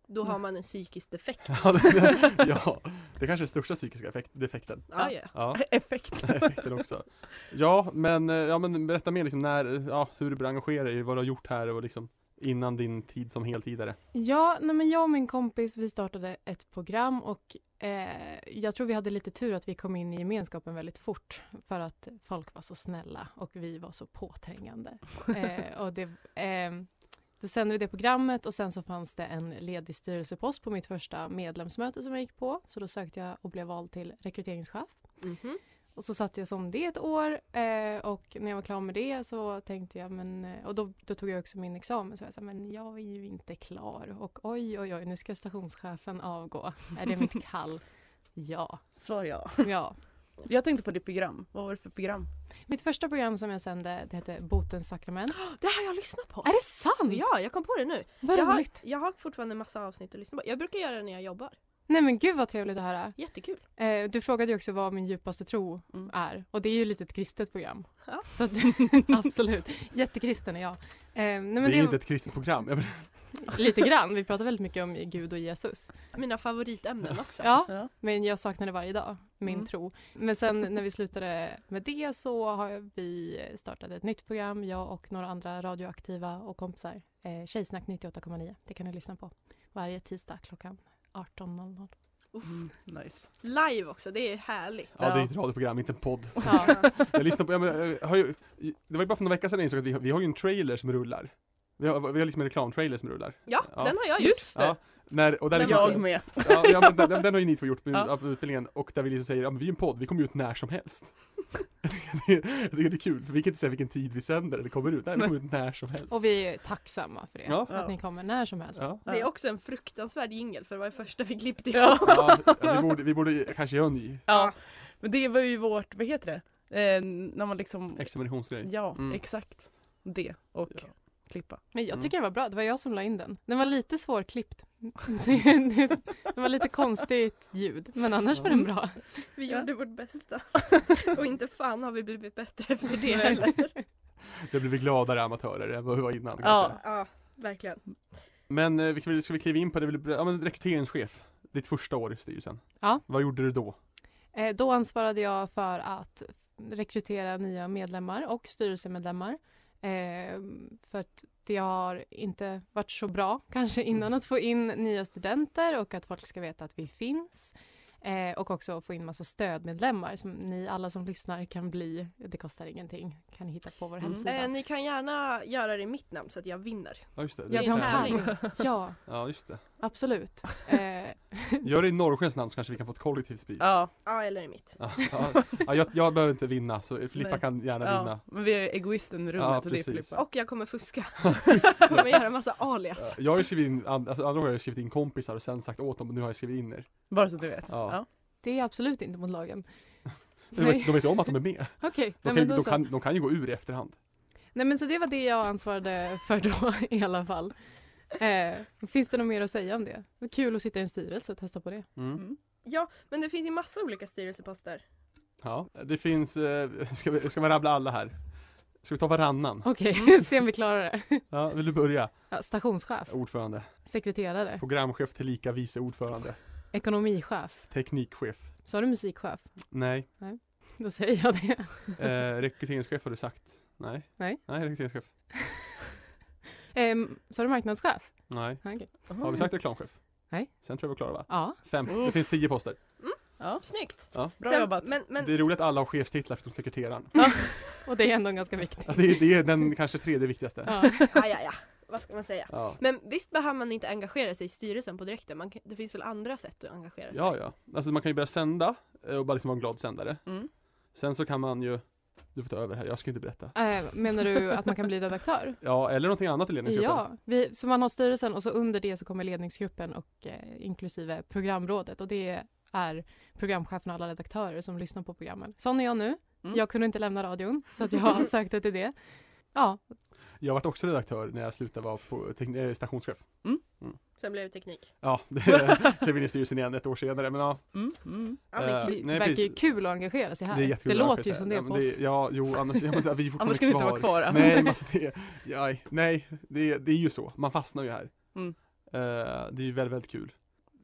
C: Då har man en psykisk defekt.
A: Ja, det, ja, det är kanske är största psykiska effekt, defekten.
C: Ah, ja.
A: Ja,
B: Effekt.
A: effekten också. Ja, men, eh, ja, men berätta mer liksom när, eh, ja, hur du började engagera dig, vad du har gjort här och liksom innan din tid som heltidare.
G: Ja, nej men jag och min kompis vi startade ett program och eh, jag tror vi hade lite tur att vi kom in i gemenskapen väldigt fort för att folk var så snälla och vi var så påträngande. Eh, och det, eh, då sände vi det programmet och sen så fanns det en ledig styrelsepost på mitt första medlemsmöte som jag gick på så då sökte jag och blev vald till rekryteringschef.
C: Mhm.
G: Och så satt jag som det ett år eh, och när jag var klar med det så tänkte jag men, eh, och då, då tog jag också min examen så jag sa men jag är ju inte klar och oj oj oj nu ska stationschefen avgå. Är det mitt kall? Ja,
B: Svar ja.
G: ja.
B: Jag tänkte på ditt program. Vad var det för program?
G: Mitt första program som jag sände det hette Botens sakrament.
C: Det har jag lyssnat på!
G: Är det sant?
C: Ja, jag kom på det nu.
G: Vad
C: jag, har,
G: roligt.
C: jag har fortfarande en massa avsnitt att lyssna på. Jag brukar göra det när jag jobbar.
G: Nej men gud vad trevligt att höra.
C: Jättekul.
G: Eh, du frågade ju också vad min djupaste tro
B: Mm.
G: är och det är ju lite ett kristet program.
C: Ja.
G: Så att, absolut, jättekristen är jag. Eh, nej, men
A: det är
G: det-
A: inte ett kristet program. Jag,
G: Lite grann. Vi pratar väldigt mycket om Gud och Jesus.
C: Mina favoritämnen också.
G: Ja,
B: Ja.
G: men jag saknar det varje dag, min
B: Mm.
G: tro. Men sen när vi slutade med det så har vi startat ett nytt program, jag och några andra radioaktiva och kompisar. Eh, Tjejsnack 98,9. Det kan ni lyssna på varje tisdag klockan 18.00.
C: Uff.
B: Mm. Nice.
C: Live också, det är härligt.
A: ja, det är ett radioprogram, inte en podd.
G: Ja.
A: eh, Jag lyssnar på, ja, men, jag har ju, det var ju bara för några veckor sedan jag insåg att vi, har- vi har ju en trailer som rullar. Vi Vi har, vi har liksom en reklamtrailer som rullar.
C: Ja,
A: Ja.
C: den har jag gjort.
B: Just det!
A: Ja, när, och där
B: Men
A: liksom,
B: jag med.
A: ja, ja, men den, den har ju ni två gjort med,
B: Ja.
A: på utbildningen och där vi liksom säger, ja, men vi är en podd, vi kommer ut när som helst. Jag tycker det är- jag tycker det är kul, för vi kan inte säga vilken tid vi sänder eller kommer ut, nej vi kommer ut när som helst.
G: Och vi är tacksamma för det.
A: Ja.
G: Att ni kommer när som helst.
A: Ja.
C: Det är också en fruktansvärd jingel för det var det första vi klippte ihop.
B: Ja.
A: Ja, vi, borde, vi borde kanske göra en ny
B: ja. Men det var ju vårt, vad heter det? Eh, när man liksom,
A: examinationsgrej.
B: ja
A: Mm.
B: exakt. Det och
A: Ja.
B: klippa.
G: Men jag
A: Mm.
G: tycker det var bra. Det var jag som la in den. Den var lite svårklippt. Det, det, det var lite konstigt ljud, men annars var
A: Mm.
G: den bra.
C: Vi
B: Ja.
C: gjorde vårt bästa. Och inte fan har vi blivit bättre efter det heller.
A: Det blir vi gladare amatörer än vad vi var innan. kan jag
B: Ja.
A: säga.
C: Ja, verkligen.
A: Men eh, vi kan väl- ska vi kliva in på det, vi- ja, men rekryteringschef, ditt första år i styrelsen.
G: Ja.
A: Vad gjorde du då?
G: Eh, Då ansvarade jag för att rekrytera nya medlemmar och styrelsemedlemmar. Eh, För att det har inte varit så bra kanske
A: Mm.
G: innan att få in nya studenter och att folk ska veta att vi finns. Eh, Och också få in massa stödmedlemmar som ni alla som lyssnar kan bli. Det kostar ingenting. Kan ni hitta på vår
B: Mm.
G: hemsida.
C: Eh, ni kan gärna göra det i mitt namn så att jag vinner.
A: Ja just det.
G: Ja,
C: det är
G: de
C: en
G: kan.
C: tävling.
G: Ja,
A: Ja just det.
G: absolut. Eh,
A: Gör det i Norrskens namn så kanske vi kan få ett kollektivt pris.
B: Ja,
C: Ja, eller i mitt.
A: Ja, ja, ja, jag, jag behöver inte vinna så Filippa
B: Nej.
A: kan gärna
B: ja.
A: vinna.
B: men vi är egoisten i rummet
A: Ja,
B: och det är
A: precis.
B: Filippa.
C: Och jag kommer fuska. Jag kommer göra en massa alias.
A: Ja, Jag har ju skrivit in, an- alltså, andra gånger har jag skrivit in kompisar och sen sagt åt dem, men nu har jag skrivit in er.
B: Bara så att du vet.
A: Ja.
B: Ja.
G: det är absolut inte mot lagen.
A: De
G: Nej.
A: vet, de vet ju om att de är med.
G: Okej,
A: De
G: nej,
A: kan, ju-
G: men
A: de
G: då så.
A: kan, de kan ju gå ur i efterhand.
G: Nej men så det var det jag ansvarade för då i alla fall. Eh, finns det något mer att säga om det? Det var kul att sitta i en styrelse och testa på det.
A: Mm.
C: Ja, men det finns ju massa olika styrelseposter.
A: Ja, det finns, eh, ska, vi, ska vi rabbla alla här? Ska vi ta varannan?
G: Okej, se om vi klarar det.
A: Ja, vill du börja?
G: Ja, stationschef,
A: Ordförande,
G: sekreterare,
A: programchef tillika vice ordförande,
G: ekonomichef.
A: teknikchef.
G: Sa du musikchef?
A: Nej,
G: Då säger jag det.
A: eh, rekryteringschef har du sagt. Nej.
G: Nej.
A: Nej, rekryteringschef.
G: Eh, sa du marknadschef?
A: Nej.
G: Ja, okej.
A: Har vi sagt reklamchef?
G: Nej.
A: Sen tror jag vi är klara va?
G: Ja,
A: Fem. Det
B: Uff.
A: finns tio poster.
B: Ja.
C: Snyggt!
A: Ja.
B: Bra
C: Sen-
B: jobbat.
C: Men, men
A: Det är roligt att alla har chefstitlar förutom sekreteraren.
G: och det är ändå ganska viktigt.
A: Ja, det, är, det är den kanske tredje viktigaste.
G: Ja.
C: aj, aj, aj, vad ska man säga?
A: Ja.
C: Men visst behöver man inte engagera sig i styrelsen på direkten? Man kan, det finns väl andra sätt att engagera sig?
A: Ja, ja. Alltså man kan ju börja sända eh, och bara liksom vara en glad sändare.
B: Mm.
A: Sen så kan man ju, du får ta över här, jag ska inte berätta.
G: Eh, menar du att man kan bli redaktör?
A: Ja, eller någonting annat i ledningsgruppen.
G: Ja, vi, så man har styrelsen och så under det så kommer ledningsgruppen och eh, inklusive programrådet och det är programchefen och alla redaktörer som lyssnar på programmen. Sån är jag nu.
B: Mm.
G: Jag kunde inte lämna radion så att jag sökte till det. Ja,
A: Jag varit också redaktör när jag slutade vara på tekn- eh, stationschef.
C: Sen blev det teknik.
A: Ja, det- klev in i styrelsen igen ett år senare. Men ja,
B: Mm. Mm.
C: Ja, men
A: Eh,
G: det
C: kul.
A: nej,
G: verkar ju
A: precis.
G: kul att engagera sig här.
A: det är jättekul.
G: låter ju som det
A: ja,
G: är
A: men
G: på oss.
A: Ja, jo, annars, ja, men, så här, vi är
B: Annars
A: fortfarande
B: skulle vi inte vara kvar.
A: Nej, men alltså det, ja, nej det, det är ju så. Man fastnar ju här.
B: Mm.
A: Eh, det är ju väldigt, väldigt kul.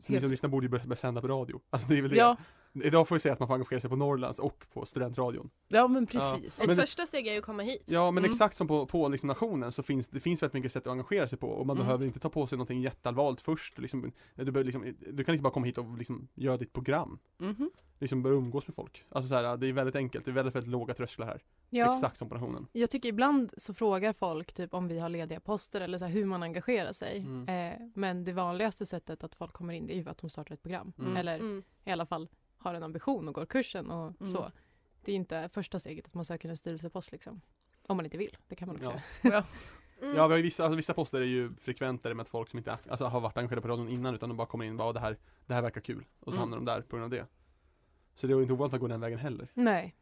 A: Så ni
B: Helt-
A: som lyssnar borde ju börja, börja sända på radio. Alltså det är väl det.
B: Ja.
A: Idag får vi säga att man får engagera sig på Norrlands och på studentradion.
B: ja, men precis.
C: Ett
A: men-
C: första steg är ju att komma hit.
A: Ja men
B: Mm.
A: exakt som på, på liksom nationen så finns det finns väldigt mycket sätt att engagera sig på och man
B: Mm.
A: behöver inte ta på sig någonting jätteallvarligt först. Liksom, du, behöver liksom, du kan liksom bara komma hit och liksom göra ditt program.
B: Mhm.
A: Liksom börja umgås med folk. Alltså så här, det är väldigt enkelt, det är väldigt, väldigt låga trösklar här.
G: Ja.
A: Exakt som på nationen.
G: Jag tycker ibland så frågar folk typ om vi har lediga poster eller så här hur man engagerar sig.
A: Mm.
G: Eh, men det vanligaste sättet att folk kommer in det är ju att de startar ett program.
A: Mm.
G: Eller
C: Mm.
G: i alla fall har en ambition och går kursen och
B: Mm.
G: så. Det är inte första steget att man söker en styrelsepost liksom. Om man inte vill, det kan man också
A: Ja.
G: göra.
C: Mm.
A: Ja vi har ju vissa, alltså, vissa poster är ju frekventare med att folk som inte ak- alltså, har varit engagerade på radion innan utan de bara kommer in och bara "Ah, det här, det här verkar kul. Och så
B: Mm.
A: hamnar de där på grund av det. Så det är ju inte ovanligt att gå den vägen heller.
G: Nej,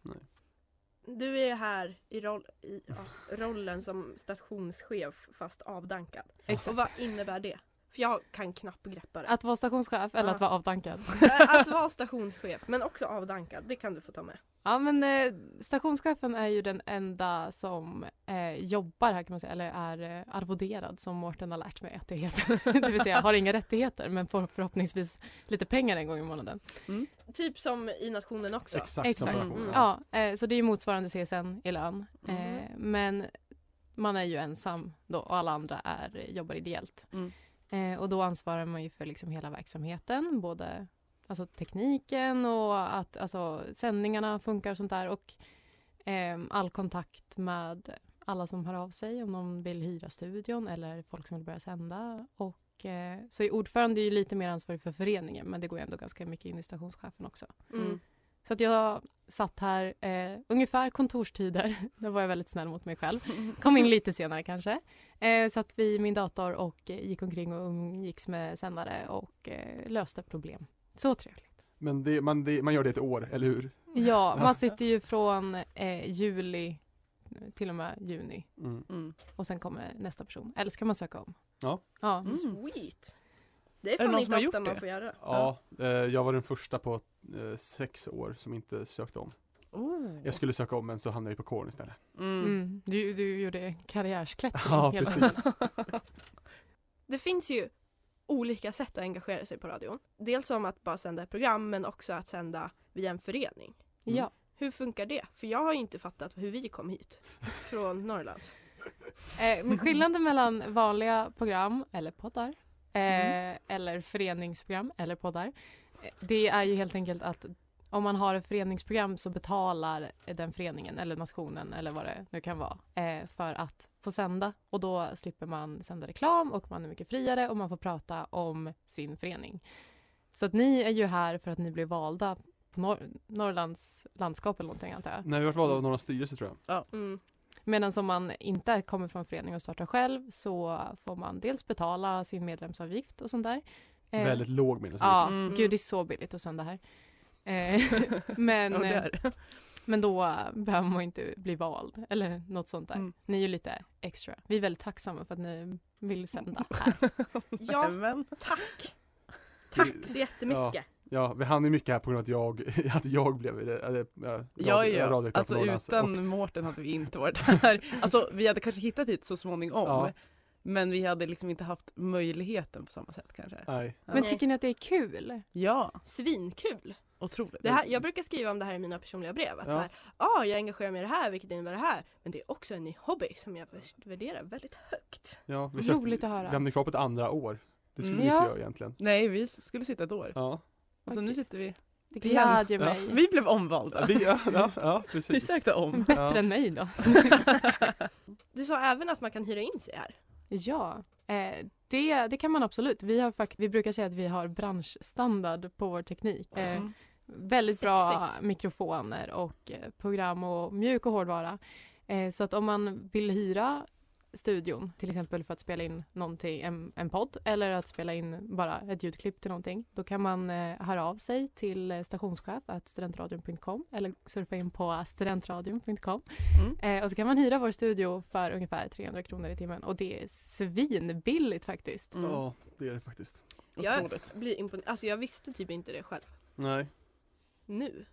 C: Du är här i, roll, i ja, rollen som stationschef fast avdankad.
G: exakt.
C: Och vad innebär det? För jag kan knappt greppa det. Att,
G: Att vara stationschef eller
C: Ja. Äh,
G: att vara avdankad.
C: att vara stationschef men också avdankad, det kan du få ta med.
G: Ja men eh, stationschefen är ju den enda som eh, jobbar här kan man säga, eller är eh, arvoderad som Mårten har lärt mig att det heter. det vill säga har inga rättigheter men får förhoppningsvis lite pengar en gång i månaden.
B: Mm.
C: Typ som i nationen också.
A: Exakt, som
G: Exakt.
A: på nationen.
C: Mm.
G: Ja, eh, så det är ju motsvarande CSN i lön. Eh,
B: Mm.
G: men man är ju ensam då och alla andra är, jobbar ideellt.
B: Mm.
G: Eh, och då ansvarar man ju för liksom hela verksamheten, både alltså tekniken och att alltså, sändningarna funkar och sånt där och ehm, all kontakt med alla som hör av sig om de vill hyra studion eller folk som vill börja sända. Och, eh, så är ordförande är ju lite mer ansvarig för föreningen men det går ju ändå ganska mycket in i stationschefen också.
C: Mm.
G: Så att jag satt här eh, ungefär kontorstider. Då var jag väldigt snäll mot mig själv.
B: Mm.
G: Kom in lite senare kanske. Eh, satt vid min dator och eh, gick omkring och umgicks med sändare och eh, löste problem. Så trevligt.
A: Men det, man, det, man gör det ett år, eller hur?
G: Ja, man sitter ju från eh, juli till och med juni
A: Mm.
B: Mm.
G: och sen kommer nästa person. Eller ska man söka om?
A: Ja.
G: Ja.
C: Sweet! Det är
B: mm. det
C: fan
B: någon som
C: inte
B: har
C: ofta
B: gjort
C: man
B: det?
C: får göra.
A: Ja, eh, jag var den första på eh, sex år som inte sökte om.
B: Oh.
A: Jag skulle söka om men så hamnade jag på kåren istället.
B: Mm.
G: Mm. Du, du gjorde karriärsklättring
A: Ja,
G: hela
A: precis.
C: Det finns ju olika sätt att engagera sig på radion. Dels som att bara sända ett program men också att sända via en förening.
G: Ja.
C: Hur funkar det? För jag har ju inte fattat hur vi kom hit från Norrland.
G: Eh, men skillnaden mellan vanliga program eller poddar eh, eller föreningsprogram eller poddar eh, det är ju helt enkelt att om man har ett föreningsprogram så betalar eh, den föreningen eller nationen eller vad det nu kan vara eh, för att få sända och då slipper man sända reklam och man är mycket friare och man får prata om sin förening. Så att ni är ju här för att ni blev valda på Nor- Norrlands landskap eller någonting antar jag.
A: Nej, vi vart valda av några styrelser tror jag.
C: Mm.
G: Medan om man inte kommer från förening och startar själv så får man dels betala sin medlemsavgift och sånt där. Eh,
A: Väldigt låg minus.
G: Ja,
B: Mm.
G: gud det är så billigt att sända här. Eh, men,
B: Och
G: eh,
B: där.
G: men då eh, behöver man inte bli vald eller något sånt där.
B: Mm.
G: Ni är ju lite extra. Vi är väldigt tacksamma för att ni vill sända här.
C: Ja,
B: Men,
C: tack! Tack så jättemycket!
A: Ja, vi hann ju mycket här på grund av att jag, att jag blev, eller, eller ja,
B: ja,
A: radio-
B: ja.
A: radioredaktör
B: Alltså
A: på Norrlands.
B: utan
A: Och,
B: Mårten hade vi inte varit här. Alltså vi hade kanske hittat hit så småningom.
A: Ja.
B: Men vi hade liksom inte haft möjligheten på samma sätt kanske.
A: nej.
G: Men
C: Nej.
G: tycker ni att det är kul?
B: Ja,
C: Svinkul!
B: otroligt.
C: Det här, jag brukar skriva om det här i mina personliga brev. Att
A: Ja.
C: så här, ah, jag engagerar mig i det här, vilket innebär det här. Men det är också en ny hobby som jag värderar väldigt högt.
A: Ja, vi
G: Roligt att höra.
A: Vi hamnade kvar på ett andra år. Det skulle vi
B: Mm.
A: inte
G: Ja.
A: göra egentligen.
B: Nej, vi skulle sitta ett år.
A: Ja.
B: Och så nu sitter vi.
G: Det
B: Vi hann-
G: glädjer
A: Ja.
G: mig.
B: Vi blev omvalda.
A: Vi, ja, ja, ja
B: Vi
A: precis.
B: sökte om.
G: Bättre
A: Ja.
G: än mig då.
C: Du sa även att man kan hyra in sig här.
G: Ja, eh, det, det kan man absolut. Vi, har fakt- vi brukar säga att vi har branschstandard på vår teknik.
C: Mm.
G: Eh, väldigt bra
C: Sexigt.
G: mikrofoner och eh, program och mjuk och hårdvara. Eh, så att om man vill hyra studion, till exempel för att spela in någonting, en, en podd eller att spela in bara ett ljudklipp till någonting, då kan man eh, höra av sig till eh, stationschef at studentradion.com eller surfa in på studentradion.com Eh, och så kan man hyra vår studio för ungefär 300 kronor i timmen och det är svinbilligt faktiskt.
B: Mm.
A: Ja, det är det faktiskt.
C: Jag
B: Otroligt.
C: blir imponerad. Alltså jag visste typ inte det själv.
A: Nej.
C: Nu.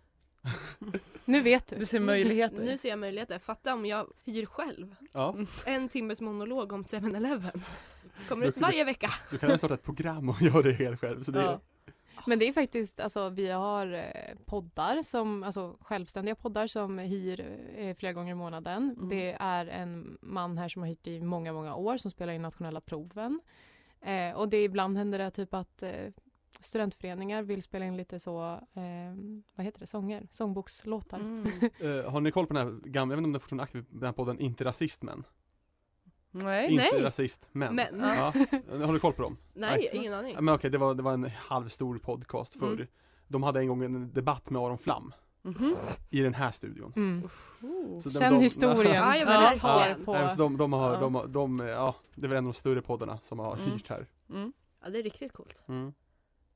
G: Nu vet du.
B: Du ser möjligheter.
C: Nu ser jag möjligheter. Fatta om jag hyr själv.
A: Ja,
C: En timmes monolog om 7-Eleven. Kommer
A: Då
C: ut
A: kan du-
C: varje vecka.
A: du kan ju starta ett program och göra det helt själv. Så det,
B: Ja.
G: Men det är faktiskt, alltså vi har eh, poddar som, alltså självständiga poddar som hyr eh, flera gånger i månaden.
B: Mm.
G: Det är en man här som har hyrt i många, många år som spelar in nationella proven. Eh, och det ibland händer det typ att eh, studentföreningar vill spela in lite så, eh, vad heter det, sånger, sångbokslåtar.
B: Mm.
A: Eh, har ni koll på den här gamla, jag vet inte om den är fortfarande är aktiv, den här podden Inte rasist men?
B: Eh, Nej.
A: Inte
C: nej.
A: rasist men.
C: Men.
A: Ja. Eh, Har du koll på dem?
C: Nej, ingen aning.
A: Ja, Men okej, det var, det var en halvstor podcast förr.
B: Mm.
A: De hade en gång en debatt med Aron Flam
B: Mhm.
A: i den här studion.
G: Mm.
B: Oh.
A: Så de-
G: Känn
A: de-
G: historien.
C: Ja, jag
G: Vad det
C: verkligen.
G: tar på.
A: Nej, men så de, de har,
B: Ja.
A: de, har- de, eh, ja, det är väl en av de större poddarna som har
B: Mm.
A: hyrt här.
B: Mm.
C: Ja, det är riktigt coolt.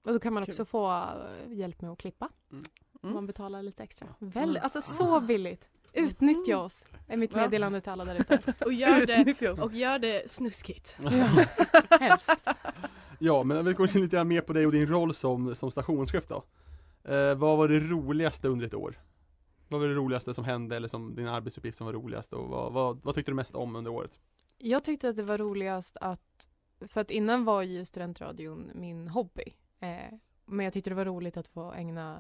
G: Och då kan man
B: Kul.
G: också få eh, hjälp med att klippa.
A: Mm.
G: Om Man
B: Mm.
G: betalar lite extra.
B: Mm.
G: Väl, alltså så billigt. Utnyttja oss, är mitt
B: Ja.
G: meddelande till alla där ute.
C: Och gör det,
B: Utnyttja oss.
C: och gör det snuskigt.
G: Ja, helst.
A: Ja, men vi går in lite grann mer på dig och din roll som, som stationschef då. Eh, vad var det roligaste under ett år? Vad var det roligaste som hände eller som din arbetsuppgift som var roligast och vad, vad, vad tyckte du mest om under året?
G: Jag tyckte att det var roligast att, för att innan var ju studentradion min hobby. Eh, men jag tyckte det var roligt att få ägna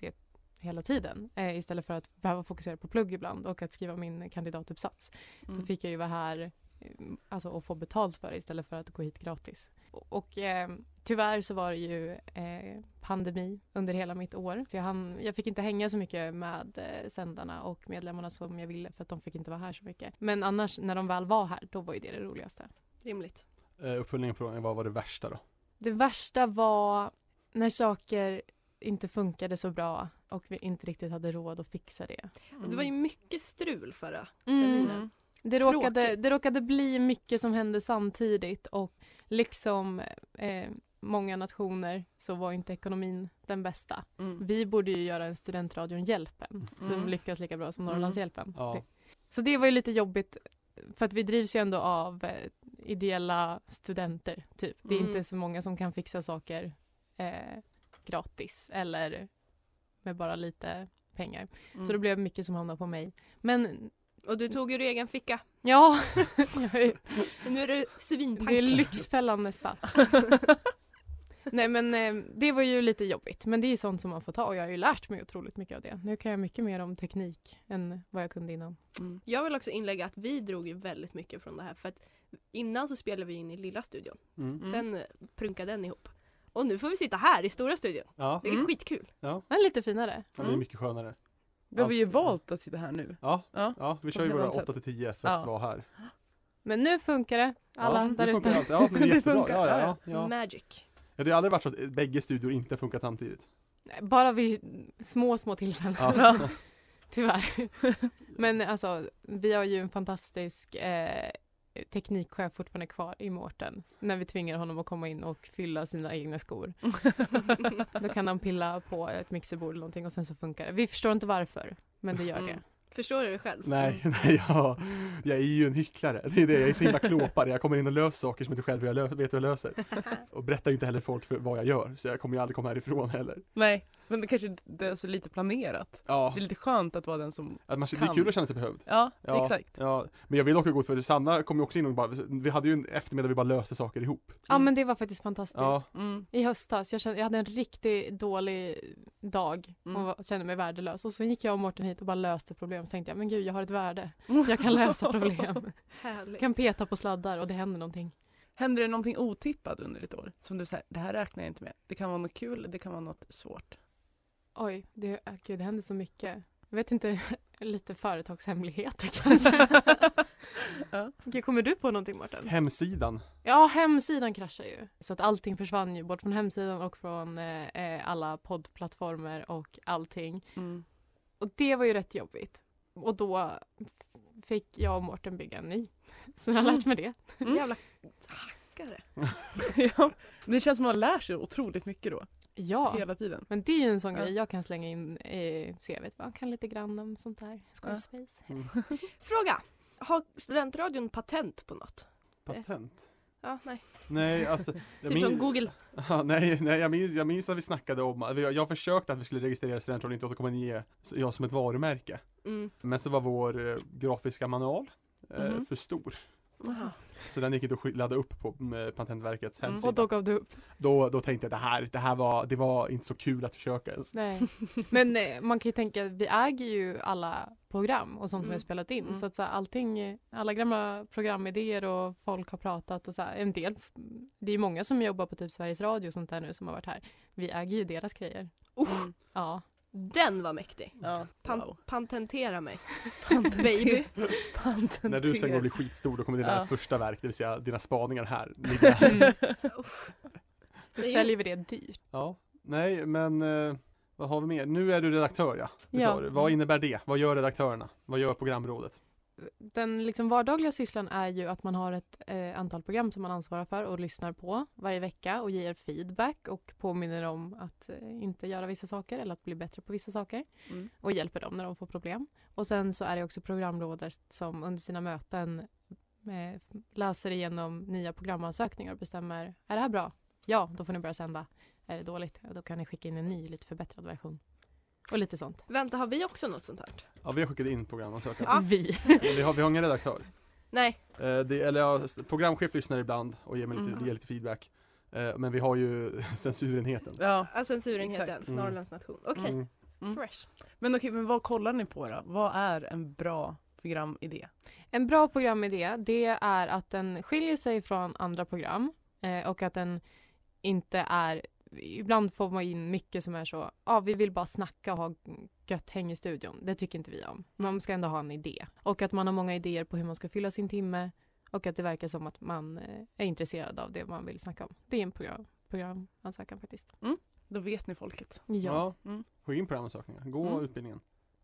G: det hela tiden eh, istället för att behöva fokusera på plugg ibland och att skriva min kandidatuppsats. Så
B: Mm.
G: fick jag ju vara här mm, alltså, och få betalt för det istället för att gå hit gratis. Och, och eh, tyvärr så var det ju eh, pandemi under hela mitt år. Så jag, hann, jag fick inte hänga så mycket med eh, sändarna och medlemmarna som jag ville för att de fick inte vara här så mycket. Men annars när de väl var här, då var ju det det roligaste.
C: Rimligt.
A: Eh, uppföljningen på frågan, vad var det värsta då?
G: Det värsta var när saker inte funkade så bra och vi inte riktigt hade råd att fixa det.
B: Mm.
C: Det var ju mycket strul förra
G: Mm.
C: terminen.
G: Det råkade,
C: Tråkigt.
G: det råkade bli mycket som hände samtidigt och liksom eh, många nationer så var inte ekonomin den bästa.
B: Mm.
G: Vi borde ju göra en studentradion Hjälpen som
B: Mm.
G: lyckas lika bra som
B: Mm.
G: Norrlandshjälpen.
A: Ja.
G: Det. Så det var ju lite jobbigt för att vi drivs ju ändå av eh, ideella studenter typ. Det är
C: Mm.
G: inte så många som kan fixa saker eh, gratis eller med bara lite pengar.
B: Mm.
G: Så det blev mycket som hamnade på mig. Men
C: Och du tog ur egen ficka.
G: ja, jag är
C: Nu är du
G: Det är
C: svinpank.
G: Lyxfällan nästa. Nej men eh, det var ju lite jobbigt men det är ju sånt som man får ta och jag har ju lärt mig otroligt mycket av det. Nu kan jag mycket mer om teknik än vad jag kunde innan.
B: Mm.
C: Jag vill också inlägga att vi drog ju väldigt mycket från det här för att innan så spelade vi in i lilla studion.
A: Mm.
B: Mm.
C: Sen eh, prunkade den ihop. Och nu får vi sitta här i stora studion.
A: Ja,
C: Det är
B: Mm.
C: skitkul.
G: Den är lite finare.
A: ja, det är mycket skönare.
B: Vi har ju valt att sitta här nu.
A: Ja,
B: Ja.
A: ja vi kör ju
B: helt
A: våra
B: annat sätt.
A: 8 till 10 för att
B: Ja.
A: vara här.
G: Men nu funkar det. Alla
A: ja,
G: där
A: det funkar
G: ute.
A: allt. Ja, men det är
B: Det
A: jättebra.
B: funkar,
A: Ja, ja, ja,
B: ja.
C: Mm.
A: ja.
C: Magic.
A: Ja, det har aldrig varit så att eh, bägge studior inte har funkat samtidigt.
G: Bara vid små, små tillfällen.
A: Ja.
G: Tyvärr. Men alltså, vi har ju en fantastisk eh, teknikchef fortfarande kvar i Mårten. När vi tvingar honom att komma in och fylla sina egna skor. Då kan han pilla på ett mixerbord eller någonting och sen så funkar det. Vi förstår inte varför, men det gör det.
C: Mm. Förstår du det själv?
A: Nej, nej, jag, jag är ju en hycklare. Det är det, jag är så himla klåpare. Jag kommer in och löser saker som inte själv jag lö- vet hur jag löser. Och berättar ju inte heller folk för vad jag gör, så jag kommer ju aldrig komma härifrån heller.
B: Nej, men det kanske det är så lite planerat.
A: Ja,
B: Det är lite skönt att vara den som,
A: att man, det är kul att känna sig behövd.
B: ja,
A: Ja,
B: exakt.
A: Ja, men jag vill också gå ut för Sanna kom ju också in och bara, vi hade ju en eftermiddag vi bara löste saker ihop.
G: Ja, men det var faktiskt fantastiskt.
A: Ja,
B: Mm.
G: I höstas, jag, kände, jag hade en riktigt dålig dag och
B: Mm.
G: var, kände mig värdelös. Och så gick jag och Mårten hit och bara löste problem. Så tänkte jag, men gud, jag har ett värde. Jag kan lösa problem.
C: Härligt.
G: kan peta på sladdar och det händer någonting.
B: Händer det någonting otippat under ditt år? Som du säger, det här räknar jag inte med. Det kan vara något kul, det kan vara något svårt.
G: Oj, det, äh, gud, det händer så mycket. Jag vet inte, lite företagshemligheter kanske.
B: Ja.
G: Gud, Kommer du på någonting Mårten?
A: hemsidan.
G: Ja, hemsidan kraschar ju. Så att allting försvann ju, bort från hemsidan och från eh, eh, alla poddplattformar och allting.
B: Mm.
G: Och det var ju rätt jobbigt. Och då fick jag och Mårten bygga en ny. Så jag har lärt mig det.
B: Mm.
C: Jävla hackare.
B: ja. Det känns som att man lär sig otroligt mycket då,
G: Ja,
B: hela tiden.
G: men det är ju en sån
B: Ja.
G: grej jag kan slänga in i CVt. Man kan lite grann om sånt där. Square
B: Ja.
G: space.
C: Fråga. Har studentradion patent på något?
A: Patent.
C: Ja, nej.
A: Nej, alltså. jag
C: Typ som
A: minns-
C: Google.
A: Ja, nej, nej jag, minns, jag minns att vi snackade om, att vi- jag, jag försökte att vi skulle registrera studentrollen inte återkomma ge jag som ett varumärke.
C: Mm.
A: Men så var vår eh, grafiska manual eh,
B: Mhm.
A: för stor.
C: Aha.
A: Så den gick inte att sk- ladda upp på mm, Patentverkets
B: Mm.
A: hemsida.
G: Och då gav du upp.
A: Då, då tänkte jag det här, det här var, det var inte så kul att försöka ens.
G: Nej. Men eh, man kan ju tänka, vi äger ju alla program och sånt som vi har
C: Mm.
G: spelat in.
B: Mm.
G: Så att så här, allting, eh, alla gamla programidéer och folk har pratat och så här, en del, f- det är många som jobbar på typ Sveriges Radio och sånt där nu som har varit här. Vi äger ju deras grejer. Mm.
C: Oh,
G: Ja.
C: den var mäktig.
B: Ja.
C: Pan-
B: Wow.
C: Patentera mig. Baby.
B: Panten
A: När du sen går och blir
B: till-
A: skitstor då kommer dina
B: Ja.
A: första verk, det vill säga dina spaningar här, ligga här.
C: Mm.
G: Då
C: Det är ju-
G: säljer vi det dyrt.
A: Ja, nej men eh, vad har vi mer? Nu är du redaktör ja. Det
G: Ja.
A: sa du. Vad innebär det? Vad gör redaktörerna? Vad gör programrådet?
G: Den liksom vardagliga sysslan är ju att man har ett eh, antal program som man ansvarar för och lyssnar på varje vecka och ger feedback och påminner om att eh, inte göra vissa saker eller att bli bättre på vissa saker.
B: Mm.
G: och hjälper dem när de får problem. Och sen så är det också programrådet som under sina möten eh, läser igenom nya programansökningar och bestämmer, är det här bra? Ja, då får ni börja sända. Är det dåligt? Ja, då kan ni skicka in en ny, lite förbättrad version. Och lite sånt.
C: Vänta, har vi också något sånt här?
A: Ja, vi har skickat in programansökan.
C: Ja.
G: Vi.
A: Men vi, har, vi har ingen redaktör.
C: Nej.
A: Eh, det, eller ja, s- programchef lyssnar ibland och ger, mig lite,
B: Mm.
A: ger lite feedback. Eh, men vi har ju censurenheten.
B: Ja.
C: Ja, censurenheten.
B: Exakt.
A: Mm.
C: Norrlands nation. Okej,
A: Mm.
B: Mm.
C: fresh.
B: Men okej, men vad kollar ni på då? Vad är en bra programidé?
G: En bra programidé det är att den skiljer sig från andra program eh, och att den inte är Ibland får man in mycket som är så, ja ah, vi vill bara snacka och ha gött häng i studion. Det tycker inte vi om. Man ska ändå ha en idé. Och att man har många idéer på hur man ska fylla sin timme och att det verkar som att man eh, är intresserad av det man vill snacka om. Det är en program, programansökan faktiskt.
B: Då vet ni folket.
G: Ja.
B: Mm.
A: Gå in på programansökningar, gå
B: Mm.
A: utbildningen.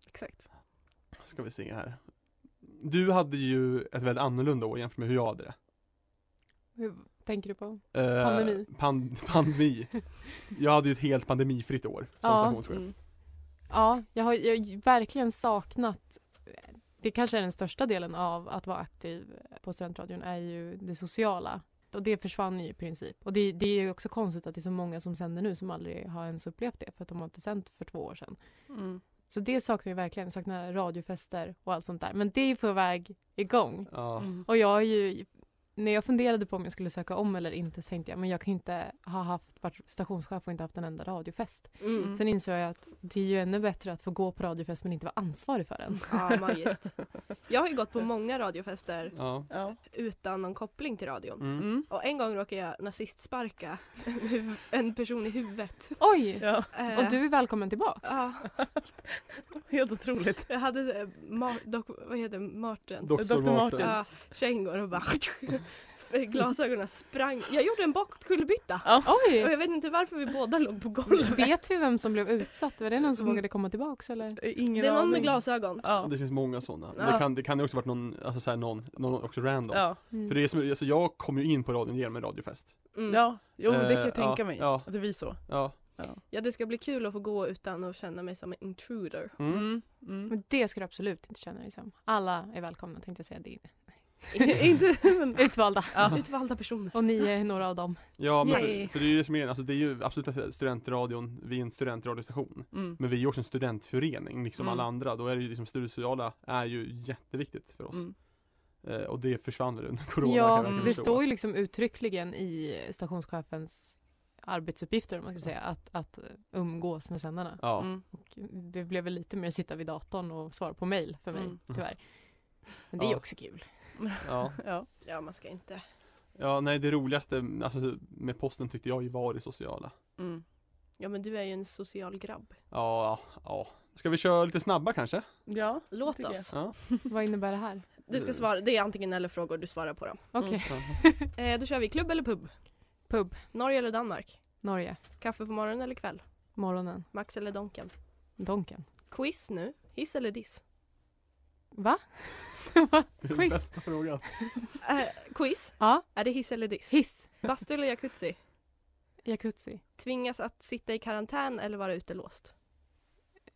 B: Exakt.
A: Ska vi se här. Du hade ju ett väldigt annorlunda år jämfört med hur jag hade det.
G: Hur tänker du på?
A: Eh,
G: Pandemi.
A: pan- pandemi. Jag hade ju ett helt pandemifritt år som
G: Ja,
A: stationschef.
B: Mm.
G: Ja, jag har, jag har verkligen saknat det kanske är den största delen av att vara aktiv på Studentradion är ju det sociala. Och det försvann ju i princip. Och det, det är ju också konstigt att det är så många som sänder nu som aldrig har ens upplevt det för att de har inte sänt för två år sedan.
B: Mm.
G: Så det saknar jag verkligen. Jag saknar radiofester och allt sånt där. Men det är på väg igång.
A: Ja.
B: Mm.
G: Och jag är ju, när jag funderade på om jag skulle söka om eller inte så tänkte jag men jag kan inte ha haft, varit stationschef och inte haft en enda radiofest.
C: Mm.
G: Sen insåg jag att det är ju ännu bättre att få gå på radiofest men inte vara ansvarig för den.
C: Ja, magiskt. Jag har ju gått på många radiofester
A: Ja.
B: Ja.
C: utan någon koppling till radion.
A: Mm.
B: Mm.
C: Och en gång råkade jag nazistsparka en, huv- en person i huvudet.
G: Oj!
B: ja,
C: Eh,
G: Och du är välkommen tillbaka.
C: Ja,
B: helt otroligt.
C: jag hade eh, Ma- doc, vad heter det? Martens.
A: Dr.
B: Dr.
A: Martens.
C: Ja, tjejen går och bara glasögonen sprang. Jag gjorde en bakskullerbytta. Och
G: Oj!
C: jag vet inte varför vi båda låg på golvet.
G: Vet vi vem som blev utsatt? Var det någon som
B: Mm.
G: vågade komma tillbaka eller?
B: Ingen
C: Det är någon
B: aning.
C: med glasögon.
B: Ja.
A: Det finns många sådana.
C: Ja.
A: Det, kan, det kan ju också varit någon, alltså såhär någon, någon också random.
B: Ja.
G: Mm.
A: För det är som, alltså jag kom ju in på radion genom en radiofest.
C: Mm.
B: ja, jo det kan
A: Eh,
B: jag tänka
A: ja,
B: mig.
A: ja.
B: Att det blir så.
A: Ja.
C: Ja det ska bli kul att få gå utan att känna mig som en intruder.
A: Mm.
B: Mm. Mm.
G: Men det ska du absolut inte känna dig som. Alla är välkomna tänkte jag säga. Det är
C: Inte men
G: utvalda.
C: utvalda personer.
G: Och ni är några av dem.
A: Ja men
B: Yay.
A: för, för det är ju det som är alltså det är ju absolut att studentradion, vi är en studentradiostation.
B: Mm.
A: Men vi är ju också en studentförening, liksom
B: Mm.
A: alla andra. Då är det ju liksom studiesociala är ju jätteviktigt för oss.
B: Mm.
A: Eh, och det försvann väl under corona. kan jag
G: Ja,
A: verkligen
G: det
A: förstå.
G: står ju liksom uttryckligen i stationschefens arbetsuppgifter om man ska säga att, att umgås med sändarna.
A: Ja.
B: Mm.
G: Det blev väl lite mer sitta vid datorn och svara på mejl för mig
B: Mm.
G: tyvärr. Men det är ju
A: Ja.
G: också kul.
A: Ja.
B: Ja.
C: Ja man ska inte.
A: ja, nej det roligaste alltså, med posten tyckte jag ju var det sociala.
B: Mm.
C: Ja men du är ju en social grabb.
A: Ja, ja. Ska vi köra lite snabba kanske?
B: Ja.
C: Låt
B: tycker jag.
C: oss.
A: Ja.
G: Vad innebär det här?
C: Du ska svara, det är antingen eller frågor, du svarar på dem.
G: Okej,
B: Mm.
C: Eh, då kör vi klubb eller pub?
G: pub,
C: Norge eller Danmark?
G: Norge,
C: Kaffe på morgonen eller kväll?
G: morgonen,
C: Max eller Donken?
G: Donken.
C: Quiz nu, hiss eller diss?
G: Va?
A: Det är
G: Quiz.
A: bästa frågan.
C: Eh, quiz,
G: Ja,
C: är det hiss eller diss?
G: hiss,
C: Bastu eller jacuzzi?
G: jacuzzi,
C: Tvingas att sitta i karantän eller vara utelåst?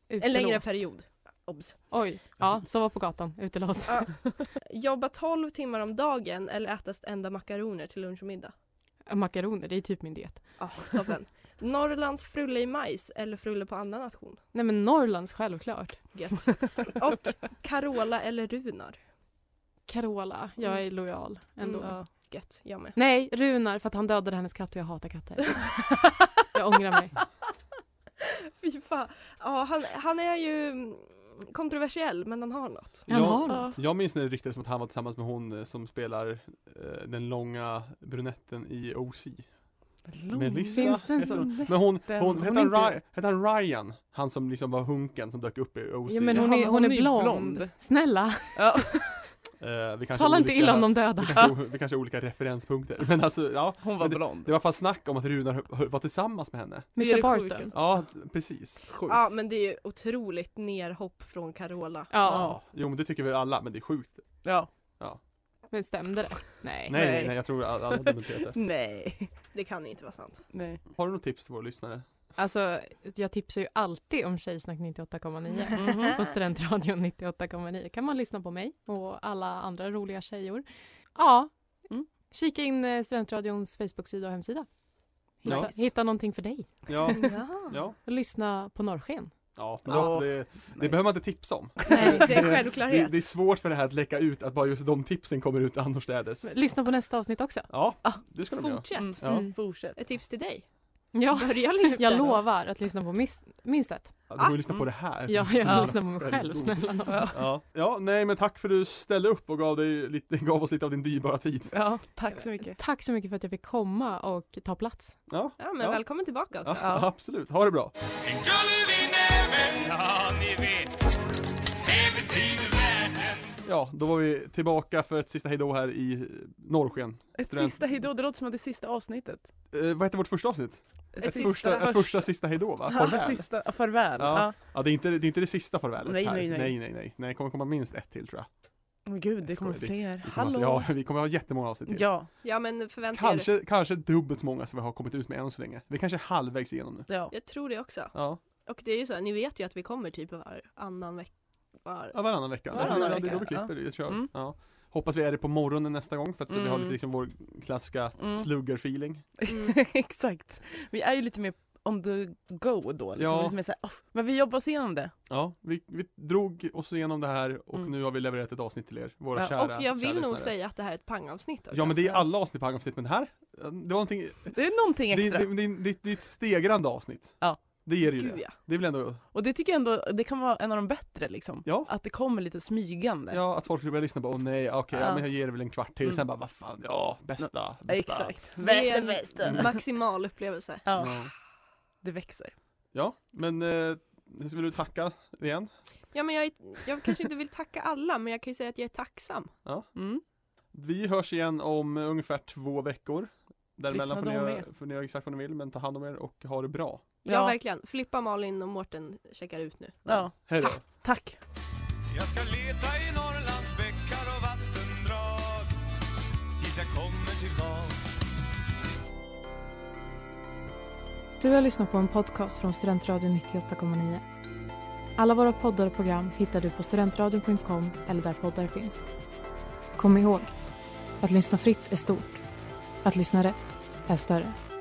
G: utelås.
C: En längre period. Obs.
G: Oj, ja, sova på gatan, utelås.
C: Ja. Jobba 12 timmar om dagen eller äta enda makaroner till lunch och middag?
G: Makaroner, det är typ min diet.
C: Ja, toppen. Norrlands frulle i majs eller frulle på annan nation?
G: Nej men Norrlands självklart.
C: Gött. Och Carola eller Runar?
G: Carola, jag är lojal ändå.
C: Mm,
B: Ja.
C: Gött, jag med.
G: Nej, Runar för att han dödade hennes katt och jag hatar katter. jag ångrar mig.
C: Fy fan. Ja, han, han är ju mm, kontroversiell men han har något.
G: Han
A: Ja.
G: har något.
B: Ja.
A: Jag minns när det ryktades om att han var tillsammans med hon eh, som spelar eh, den långa brunetten i OC. Melissa
G: Finns det en
A: heter hon.
G: sån?
A: Men hon,
B: Den-
A: hon, hette
B: hon
A: han,
B: inte-
A: Ry- hette han Ryan? Han som liksom var hunken som dök upp i OC.
G: Ja, men hon,
B: Ja,
G: är, hon är
B: men hon är ju
G: blond.
B: blond.
G: Snälla,
B: Ja.
A: Eh, vi kanske
G: tala
A: har
G: inte
A: olika-
G: illa om de döda.
A: Vi kanske, har- vi kanske har olika referenspunkter. Men alltså, ja.
B: Hon var
A: Men
B: blond.
A: Det var i alla fall snack om att Runar hö- hö- var tillsammans med henne.
B: Det är
G: Mischa
B: det
G: Barton.
B: sjukaste.
A: Ja, t- precis. Sjukt.
C: Ja, men det är ju otroligt nerhopp från Carola.
G: Ja,
B: Ja.
A: Ja, Jo men det tycker väl alla, men det är sjukt.
B: Ja.
G: men stämde det? Nej.
A: Nej, nej,
B: Nej.
A: nej jag tror alla alla har dementerat det.
B: Nej.
C: Det kan ju inte vara sant.
B: Nej.
A: Har du något tips till våra lyssnare?
G: Alltså, jag tipsar ju alltid om Tjejsnack 98,9
B: Mhm.
G: på Studentradion 98,9. kan man lyssna på mig och alla andra roliga tjejor. Ja,
B: Mm.
G: kika in eh, Studentradions Facebook-sida och hemsida. Hitta,
A: Ja.
G: hitta någonting för dig.
A: Ja,
C: Ja.
A: ja.
G: Och lyssna på Norrsken.
A: Ja,
B: Ja.
A: Det, det
B: Nej.
A: behöver man inte tipsa om.
C: Nej, det är
A: Det,
C: självklarhet.
A: det är svårt för det här att läcka ut, att bara just de tipsen kommer ut annorstädes.
G: Lyssna på nästa avsnitt också.
A: Ja, det ska de göra.
C: Fortsätt.
A: Ja.
G: Mm.
B: Fortsätt.
C: Ett tips till dig.
G: Ja,
C: Börja lyssna
G: jag
C: då.
G: lovar att lyssna på mis- minst ett.
A: Ja, Du får ju lyssna på det
G: Ah,
A: här.
G: mm. Ja,
A: Ja.
G: jag lyssnar på mig själv,
A: Väldigt god.
G: snälla nån.
A: Ja. ja, nej men tack för att du ställde upp och gav, dig lite, gav oss lite av din dyrbara tid.
B: Ja, tack så mycket.
G: Tack så mycket för att jag fick komma och ta plats.
A: Ja,
C: Ja men
A: Ja.
C: välkommen tillbaka också.
A: ja, absolut. Ha det bra.
D: En gullig näven, ja ni vet. Det betyder världen.
A: Ja, då var vi tillbaka för ett sista hejdå här i Norrsken.
B: Ett
A: Student-
B: sista hejdå, det låter som att det är sista avsnittet.
A: Eh, vad hette vårt första avsnitt?
C: Ett sista.
A: första, ett första sista hejdå va? Farväl.
B: sista, ja, farväl.
A: Ja.
B: Ja.
A: Ja, det är inte det, är inte det sista farvälet
B: Nej,
A: här.
B: nej, nej.
A: nej, nej, nej. Nej, det kommer komma minst ett till tror jag.
B: Åh gud, det
A: Jag skojar,
B: kommer
A: det-
B: fler.
A: Vi kommer,
B: Hallå!
A: alltså- ja, vi kommer ha jättemånga avsnitt till.
B: ja.
C: Ja men förvänta er.
A: Kanske, kanske dubbelt så många som vi har kommit ut med än så länge. Vi kanske är halvvägs igenom nu.
B: ja.
C: Jag tror det också.
A: Ja,
C: Och det är ju så, ni vet ju att vi kommer typ varannan vecka. Var...
A: ja varannan vecka.
B: Varannan
A: alltså, Det är
B: vecka,
A: då vi klipper, det kör vi.
B: Mm.
A: ja. Hoppas vi är det på morgonen nästa gång för att så vi har lite
B: Mm.
A: liksom vår klassiska
B: Mm.
A: slugger-feeling.
C: Mm.
B: Exakt. Vi är ju lite mer on the go då. Liksom.
A: Ja.
B: Lite mer så här, "Åh", men vi jobbar oss igenom det.
A: Ja, vi, vi drog oss igenom det här och
B: Mm.
A: nu har vi levererat ett avsnitt till er, våra
B: Ja,
A: kära
C: och jag
A: kära
C: vill nog
A: lyssnare.
C: säga att det här är ett pangavsnitt också.
A: Ja men det är alla avsnitt på avsnitt, men här, det var någonting,
B: Det är
A: det,
B: någonting
A: det,
B: extra.
A: det, det, det är ett stegrande avsnitt.
B: Ja.
A: Det ger det ju
C: Gud
A: det.
C: ja.
A: Det är väl ändå,
B: Och det tycker jag ändå, det kan vara en av de bättre liksom.
A: ja.
B: Att det kommer lite smygande.
A: Ja, att folk börjar lyssna på, åh nej, okej, ja.
B: Ja.
A: men jag ger det väl en kvart till,
B: Mm.
A: sen bara, vad fan, ja, bästa, bästa.
B: Exakt.
C: Det är
B: Bästa,
C: en
B: bästa.
C: maximal upplevelse.
B: Ja,
A: Ja,
B: det växer.
A: ja men eh, vill du tacka igen?
C: Ja men jag, är, jag kanske inte vill tacka alla men jag kan ju säga att jag är tacksam.
B: Mm.
A: Vi hörs igen om ungefär två veckor.
B: Lyssna
A: Däremellan får ni,
B: då
A: göra,
B: med.
A: får ni göra exakt vad ni vill, men ta hand om er och ha det bra.
C: Ja,
B: Ja.
C: verkligen. Filippa, Malin och Mårten checkar ut nu.
B: Ja,
A: Hej då.
B: tack.
D: Jag ska leta i Norrlands bäckar och vattendrag tills jag kommer tillbaks.
G: Du har lyssnat på en podcast från Studentradion 98,9. Alla våra poddar och program hittar du på studentradion.com eller där poddar finns. Kom ihåg, att lyssna fritt är stort. Att lyssna rätt är större.